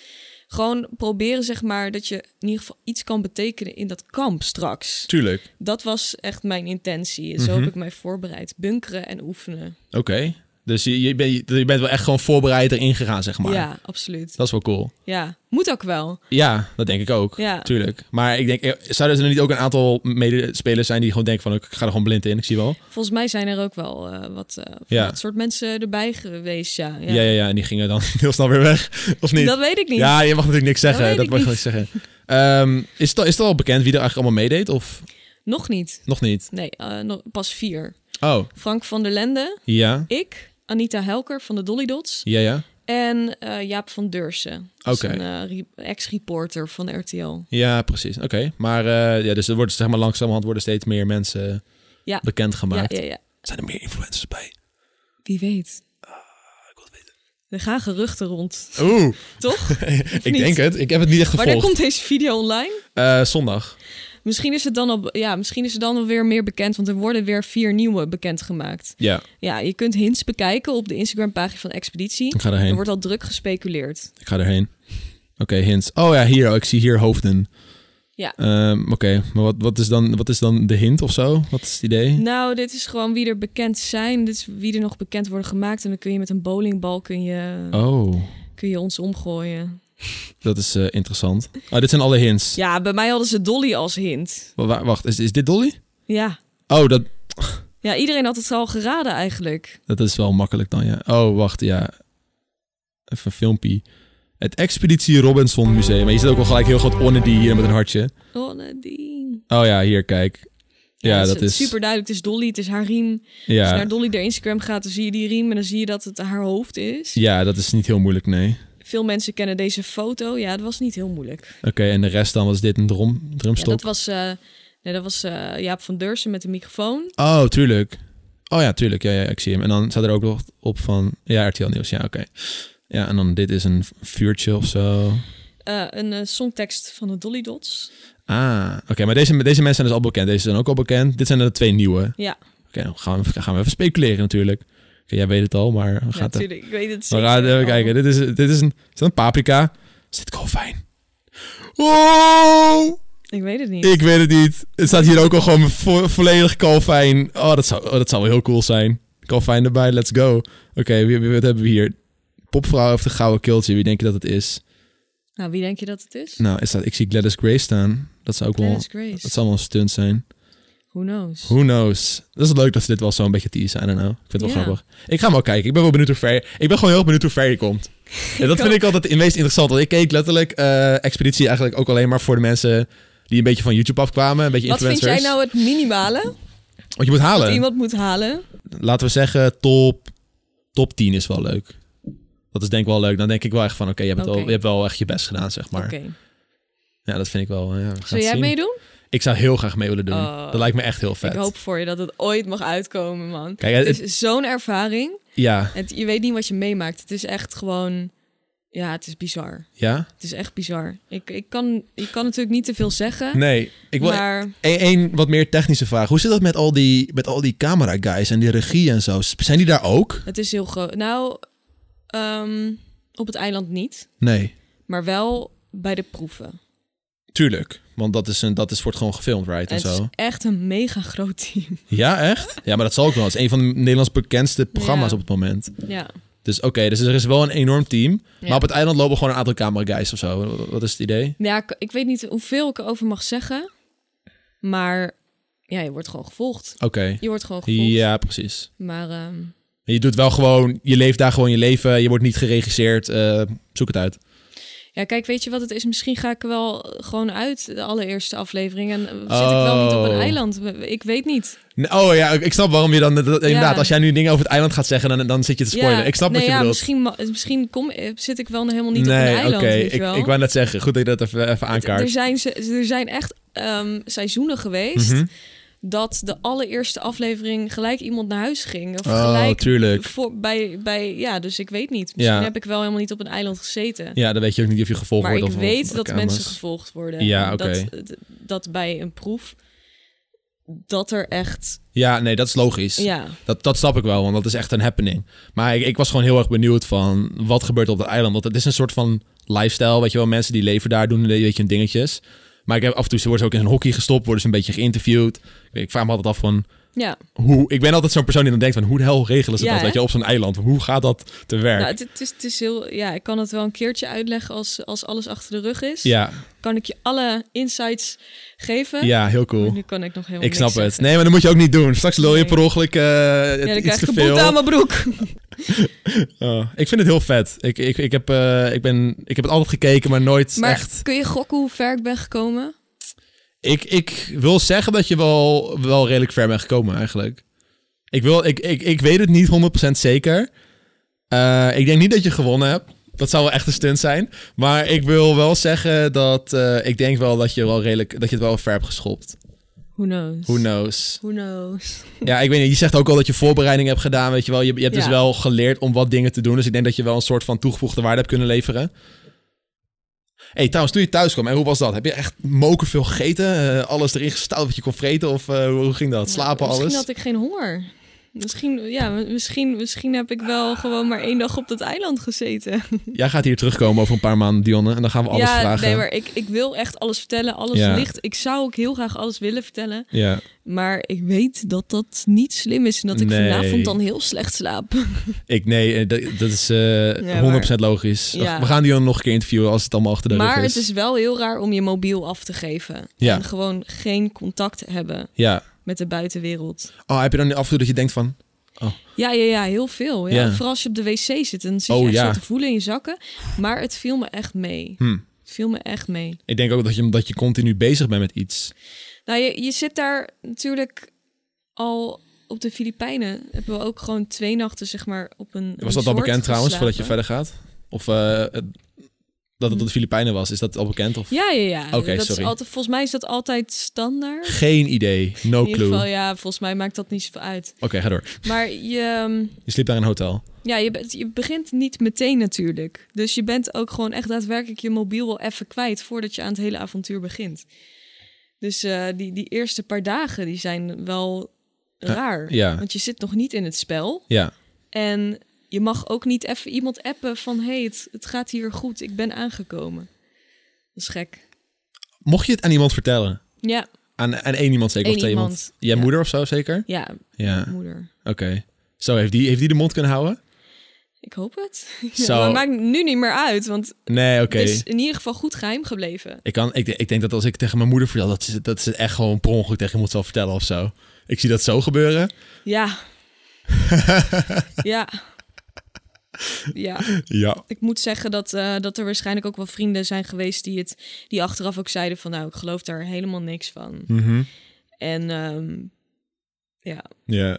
B: Gewoon proberen, zeg maar, dat je in ieder geval iets kan betekenen in dat kamp straks.
A: Tuurlijk.
B: Dat was echt mijn intentie. Zo
A: Mhm.
B: heb ik mij voorbereid. Bunkeren en oefenen.
A: Oké. Dus je, je, bent- je bent wel echt gewoon voorbereid erin gegaan, zeg maar.
B: Ja, absoluut.
A: Dat is wel cool.
B: Ja, moet ook wel.
A: Ja, dat denk ik ook.
B: Ja.
A: Tuurlijk. Maar ik denk, eh, zouden er niet ook een aantal medespelers zijn die gewoon denken van, "Oh, ik ga er gewoon blind in, ik zie wel.
B: Volgens mij zijn er ook wel eh, wat, eh, van
A: Ja.
B: dat soort mensen erbij geweest. Ja, ja.
A: Ja, ja, ja. en die gingen dan heel snel weer weg. Of niet?
B: Dat weet ik niet.
A: Ja, je mag natuurlijk niks zeggen. Dat,
B: Dat weet
A: mag
B: ik
A: je niks zeggen. Ehm, is, het al, is het al bekend wie er eigenlijk allemaal meedeed of
B: Nog niet.
A: nog niet?
B: Nee, eh, nog, pas vier.
A: Oh,
B: Frank van der Lende,
A: ja.
B: ik, Anita Helker van de Dolly Dots
A: Ja, ja.
B: en eh, Jaap van Deursen. Dat is
A: Oké.
B: Een eh, re- ex-reporter van RTL.
A: Ja, precies. Oké. Maar eh, ja, dus er wordt zeg maar langzamerhand worden steeds meer mensen
B: Ja.
A: bekend gemaakt.
B: Ja, ja, ja.
A: Zijn er meer influencers bij? Ah,
B: Wie weet.
A: Ik wil het weten.
B: Er gaan geruchten rond,
A: Oeh,
B: toch?
A: ik
B: niet?
A: denk het. Ik heb het niet echt
B: Wanneer
A: gevolgd.
B: komt deze video online?
A: Eh, zondag.
B: Misschien is het dan al, ja, misschien is het dan alweer meer bekend, want er worden weer vier nieuwe bekendgemaakt.
A: Ja,
B: Ja, je kunt hints bekijken op de Instagram-pagina van Expeditie.
A: ik ga
B: Er
A: erheen.
B: wordt al druk gespeculeerd.
A: Ik ga erheen. Oké, hints. Oh ja, hier. oh, ik zie hier hoofden.
B: Ja.
A: Ehm, Oké, maar wat, wat, is dan, wat is dan de hint of zo? Wat is het idee?
B: Nou, dit is gewoon wie er bekend zijn. Dit is wie er nog bekend worden gemaakt. En dan kun je met een bowlingbal kun je
A: Oh,
B: kun je ons omgooien.
A: Dat is eh, interessant. Oh, dit zijn alle hints.
B: Ja, bij mij hadden ze Dolly als hint.
A: Wa- wa- Wacht, is, is dit Dolly?
B: Ja.
A: Oh, dat,
B: Ja, iedereen had het al geraden eigenlijk.
A: dat is wel makkelijk dan, ja. Oh, wacht, ja. Even een filmpje. Het Expeditie Robinson Museum. Maar je zit ook wel gelijk heel groot Onnedy hier met een hartje.
B: Oh, Nadine.
A: Oh ja, hier, kijk. Ja, dat is...
B: super duidelijk. Het is Dolly, het is haar riem. Als je
A: Ja,
B: naar Dolly de Instagram gaat, dan zie je die riem en dan zie je dat het haar hoofd is.
A: ja, dat is niet heel moeilijk, nee.
B: Veel mensen kennen deze foto. Ja, dat was niet heel moeilijk.
A: Oké, en de rest dan was dit een drum,
B: Ja,
A: drumstok?
B: dat was, eh, nee, dat was eh, Jaap van Deursen met de microfoon.
A: Oh, tuurlijk. Oh ja, tuurlijk. Ja, ja, ik zie hem. En dan staat er ook nog op van... Ja, RTL Nieuws. Ja, oké. Ja, en dan dit is een vuurtje of zo.
B: Eh, een eh, songtekst van de Dolly Dots.
A: Ah, oké. maar deze, deze mensen zijn dus al bekend. Deze zijn ook al bekend. Dit zijn er de twee nieuwe. Oké,
B: Ja,
A: dan gaan we, gaan we even speculeren natuurlijk. Oké, jij weet het al, maar we
B: ja,
A: gaan, het
B: natuurlijk. Ik weet het
A: we
B: zeker.
A: gaan even
B: al.
A: kijken. Dit is, dit is een, is dat een paprika. Is dit fijn? Oh!
B: Ik weet het niet.
A: Ik weet het niet. Het staat hier ook al gewoon vo- volledig kalfijn. Oh, dat zou, oh, dat zou wel heel cool zijn. Kalfijn erbij, let's go. Oké, wie, wie- wat hebben we hier? Popvrouw heeft een gouden kiltje. Wie denk je dat het is?
B: Nou, wie denk je dat het is?
A: Nou, is dat, ik zie Gladys Grace staan. Dat zou ook wel...
B: Dennis
A: Dat
B: Grace.
A: zou wel een stunt zijn.
B: Who knows?
A: Who knows? Dat is leuk dat ze dit wel zo'n beetje teasen. I don't know. Ik vind het wel
B: Ja.
A: grappig. Ik ga hem wel kijken. Ik ben wel benieuwd hoe ver... je- Ik ben gewoon heel erg benieuwd hoe ver je komt. En dat vind ik altijd het meest interessant. Want ik keek letterlijk eh, Expeditie eigenlijk ook alleen maar voor de mensen... die een beetje van YouTube afkwamen. Een beetje
B: Wat vind
A: influencers.
B: jij nou het minimale
A: Want je moet halen.
B: dat iemand moet halen?
A: laten we zeggen, top, top 10 is wel leuk. Dat is denk ik wel leuk. Dan denk ik wel echt van, oké, je, hebt het
B: Oké.
A: wel- je hebt wel echt je best gedaan, zeg maar.
B: Oké.
A: Ja, dat vind ik wel. eh, Ja, we gaan
B: Zou
A: het
B: jij
A: zien.
B: meedoen?
A: Ik zou heel graag mee willen doen.
B: Oh.
A: dat lijkt me echt heel vet.
B: Ik hoop voor je dat het ooit mag uitkomen, man.
A: Kijk, het-
B: het is zo'n ervaring.
A: Ja,
B: Het, je weet niet wat je meemaakt. Het is echt gewoon... Ja, het is bizar.
A: ja.
B: Het is echt bizar. Ik, ik, kan, ik kan natuurlijk niet te veel zeggen.
A: Nee, ik wil
B: maar
A: één één wat meer technische vraag. Hoe zit dat met al die, met al die camera guys en die regie en zo? Sp- Zijn die daar ook?
B: het is heel groot. Nou, ehm, op het eiland niet.
A: Nee,
B: Maar wel bij de proeven.
A: tuurlijk. Want dat, is een, dat is, wordt gewoon gefilmd, right? En
B: het
A: zo.
B: is echt een mega groot team.
A: Ja, echt? Ja, maar dat zal ook wel. Het is een van de Nederlands bekendste programma's
B: Ja.
A: op het moment.
B: ja.
A: Dus oké, dus er is wel een enorm team.
B: Ja.
A: Maar op het eiland lopen gewoon een aantal camera guys of zo. Wat- Wat is het idee?
B: Ja, ik, ik weet niet hoeveel ik erover mag zeggen. Maar ja, je wordt gewoon gevolgd.
A: Oké.
B: Je wordt gewoon gevolgd.
A: Ja, precies.
B: Maar ehm,
A: Je doet wel gewoon, je leeft daar gewoon je leven. Je wordt niet geregisseerd. eh, zoek het uit.
B: ja, kijk, weet je wat het is? Misschien ga ik er wel gewoon uit de allereerste aflevering. En eh, zit ik
A: Oh.
B: wel niet op een eiland. Ik weet niet.
A: Nee, Oh ja, ik ik snap waarom je dan... dat- dat- inderdaad, als jij nu dingen over het eiland gaat zeggen, dan, dan zit je te spoilen. ik snap
B: nee,
A: wat je
B: ja,
A: bedoelt.
B: Misschien, ma- misschien kom, eh, zit ik wel helemaal niet op een
A: nee,
B: eiland. weet je
A: ik,
B: wel.
A: ik wou net zeggen. Goed dat je dat even, even
B: er,
A: aankaart.
B: zijn, ze- er zijn echt ehm, seizoenen geweest
A: Mhm.
B: dat de allereerste aflevering gelijk iemand naar huis ging. Of
A: Oh,
B: gelijk
A: tuurlijk.
B: voor, bij, bij, ja, dus ik weet niet. Misschien
A: Ja.
B: heb ik wel helemaal niet op een eiland gezeten.
A: Ja, dan weet je ook niet of je gevolgd
B: maar
A: wordt.
B: ik
A: of- of
B: weet
A: door
B: dat
A: camera's.
B: mensen gevolgd worden.
A: Ja,
B: En
A: oké.
B: dat, dat bij een proef, dat er echt,
A: Ja, nee, dat is logisch.
B: ja.
A: Dat, dat snap ik wel, want dat is echt een happening. Maar ik, ik was gewoon heel erg benieuwd van wat gebeurt op het eiland. Want het is een soort van lifestyle, weet je wel. Mensen die leven daar doen een beetje hun dingetjes. Maar ik heb, af en toe ze worden ze ook in een hockey gestopt, worden ze een beetje geïnterviewd. Ik, ik vraag me altijd af van
B: ja.
A: hoe... Ik ben altijd zo'n persoon die dan denkt van hoe de hel regelen ze
B: Ja,
A: dat,
B: hè?
A: weet je, op zo'n eiland. Hoe gaat dat te werk?
B: Nou, het, het is, het is heel, ja, ik kan het wel een keertje uitleggen als, als alles achter de rug is.
A: ja,
B: Kan ik je alle insights geven?
A: ja, heel
B: Maar
A: cool.
B: Nu kan ik nog helemaal
A: Ik snap
B: niks
A: het.
B: zeggen.
A: Nee, maar dat moet je ook niet doen. Straks lul je
B: Nee.
A: per ongeluk eh, het-
B: Ja, dan
A: iets
B: krijg
A: te
B: ik een boete
A: veel.
B: aan mijn broek.
A: Oh, ik vind het heel vet. Ik, ik, ik, heb, eh, ik, ben, ik heb het altijd gekeken, maar nooit
B: Maar
A: echt...
B: kun je gokken hoe ver ik ben gekomen?
A: Ik, ik wil zeggen dat je wel, wel redelijk ver bent gekomen eigenlijk. Ik, wil, ik, ik, ik weet het niet 100% zeker. Eh, ik denk niet dat je gewonnen hebt. Dat zou wel echt een stunt zijn. Maar ik wil wel zeggen dat eh, ik denk wel dat je, wel redelijk, dat je het wel ver hebt geschopt.
B: Who knows?
A: Who knows?
B: Who knows?
A: Ja, ik weet niet. Je zegt ook al dat je voorbereiding hebt gedaan. Weet je wel. Je, je hebt dus
B: Ja.
A: wel geleerd om wat dingen te doen. Dus ik denk dat je wel een soort van toegevoegde waarde hebt kunnen leveren. hey, trouwens, toen je thuis kwam, hè, hoe was dat? Heb je echt moker veel gegeten? Eh, alles erin gestouwd wat je kon vreten? Of eh, hoe ging dat? Slapen,
B: Nou, Misschien
A: alles?
B: had ik geen honger. Misschien, ja, misschien, misschien heb ik wel gewoon maar één dag op dat eiland gezeten.
A: Jij gaat hier terugkomen over een paar maanden, Dionne. En dan gaan we alles
B: ja,
A: vragen.
B: nee, maar ik, ik wil echt alles vertellen. Alles
A: Ja.
B: ligt. Ik zou ook heel graag alles willen vertellen.
A: Ja.
B: Maar ik weet dat dat niet slim is. En dat ik
A: Nee.
B: vanavond dan heel slecht slaap.
A: Ik, nee, eh, dat, dat is eh,
B: Ja,
A: 100% logisch.
B: Ja.
A: We gaan Dionne nog een keer interviewen als het allemaal achter de
B: Maar
A: rug
B: het is wel heel raar om je mobiel af te geven.
A: Ja.
B: En gewoon geen contact hebben
A: Ja.
B: met de buitenwereld.
A: Oh, heb je dan af en toe dat je denkt van...
B: Ja, ja, ja, heel veel. Ja.
A: Ja.
B: Vooral als je op de wc zit en dan zit
A: Oh,
B: je echt
A: ja.
B: zo te voelen in je zakken. Maar het viel me echt mee.
A: hm,
B: Het viel me echt mee.
A: ik denk ook dat je, omdat je continu bezig bent met iets.
B: Nou, je, je zit daar natuurlijk al op de Filipijnen. Hebben we ook gewoon twee nachten, zeg maar, op een
A: Was dat al bekend trouwens, voordat je
B: verder.
A: verder gaat? Of eh, het- dat het op de Filipijnen was? Is dat al bekend? Of?
B: Ja, ja, ja.
A: Oké,
B: dat
A: sorry.
B: Is altijd, volgens mij is dat altijd standaard.
A: Geen idee. No
B: in ieder
A: clue.
B: geval,
A: Oké,
B: ja, volgens mij maakt dat niet zoveel uit.
A: ga door.
B: Maar je, ehm,
A: Je sliep daar in een hotel.
B: ja, je, bent- je begint niet meteen natuurlijk. Dus je bent ook gewoon echt daadwerkelijk je mobiel wel even kwijt voordat je aan het hele avontuur begint. Dus eh, die, die eerste paar dagen die zijn wel raar.
A: Eh, ja.
B: Want je zit nog niet in het spel.
A: Ja.
B: En je mag ook niet even iemand appen van hé, hey, het, het gaat hier goed, ik ben aangekomen. Dat is gek.
A: Mocht je het aan iemand vertellen?
B: Ja,
A: Aan, aan één iemand zeker?
B: Eén
A: of twee iemand?
B: iemand,
A: Jij
B: ja.
A: moeder of zo zeker?
B: ja,
A: Ja,
B: moeder.
A: oké. Zo, heeft die, heeft die de mond kunnen houden?
B: Ik hoop het.
A: Zo.
B: Maar maakt nu niet meer uit, want
A: Nee, oké.
B: het is in ieder geval goed geheim gebleven.
A: Ik, kan, ik, ik denk dat als ik tegen mijn moeder vertel, dat ze, dat ze echt gewoon per ongeluk tegen iemand zal vertellen of zo. Ik zie dat zo gebeuren.
B: Ja. ja. Ja,
A: Ja.
B: ik moet zeggen dat, eh, dat er waarschijnlijk ook wel vrienden zijn geweest die het die achteraf ook zeiden van nou, ik geloof daar helemaal niks van.
A: Mhm.
B: En ehm, ja,
A: Ja,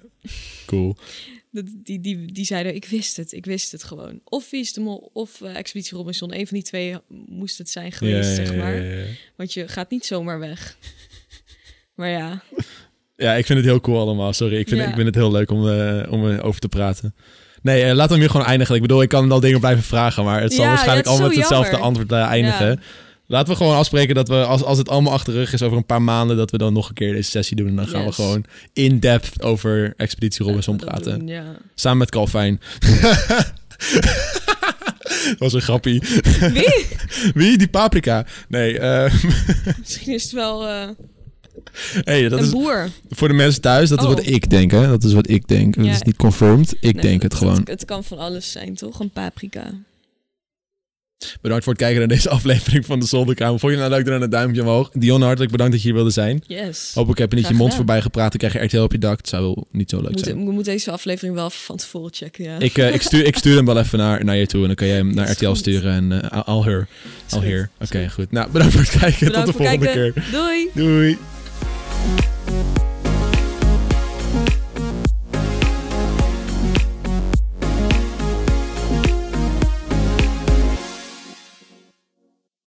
A: cool.
B: dat- die, die, die zeiden ik wist het, ik wist het gewoon. Of Wie is de Mol of eh, Expeditie Robinson, een van die twee moest het zijn geweest,
A: ja,
B: zeg
A: ja,
B: maar.
A: ja, ja.
B: Want je gaat niet zomaar weg. Maar ja,
A: Ja, ik vind het heel cool allemaal. Sorry, ik vind,
B: Ja.
A: ik vind het heel leuk om, eh om eh, over te praten. Nee, eh, laten we hem hier gewoon eindigen. Ik bedoel, ik kan al dingen blijven vragen, maar het zal
B: Ja,
A: waarschijnlijk
B: ja, het is
A: allemaal met
B: zo
A: hetzelfde
B: jammer.
A: antwoord eh, eindigen.
B: Ja.
A: Laten we gewoon afspreken dat we, als, als het allemaal achter de rug is over een paar maanden, dat we dan nog een keer deze sessie doen. En dan gaan we
B: Yes.
A: gewoon in-depth over Expeditie Robinson
B: dat
A: praten.
B: doen, ja.
A: Samen met Calvin. Dat was een grappie.
B: Wie?
A: Wie? Die paprika? Nee, eh,
B: Misschien is het wel eh,
A: hey, dat
B: een
A: is
B: boer.
A: voor de mensen thuis. Dat is
B: Oh.
A: wat ik denk, hè? Dat is wat ik denk. Dat
B: Ja.
A: is niet confirmed. Ik
B: Nee,
A: denk het gewoon.
B: Het, het kan van alles zijn, toch? Een paprika.
A: Bedankt voor het kijken naar deze aflevering van de Zolderkamer. Vond je het nou leuk? Doe dan een duimpje omhoog. Dion, hartelijk bedankt dat je hier wilde zijn.
B: Yes.
A: Hoop ik heb je niet
B: Graag
A: je mond
B: gedaan.
A: voorbij gepraat. Dan krijg je RTL op je dak. Het zou wel niet zo leuk
B: moet,
A: zijn.
B: we moeten deze aflevering wel van tevoren checken, ja.
A: Ik, eh, ik, stuur, ik stuur hem wel even naar, naar je toe. En dan kan jij hem naar
B: Is
A: RTL
B: goed.
A: sturen. En eh, al- al her.
B: Is
A: Al
B: goed.
A: her. Oké, goed. Nou, bedankt voor het kijken.
B: Bedankt
A: Tot de
B: voor het
A: volgende
B: kijken.
A: keer.
B: Doei!
A: Doei.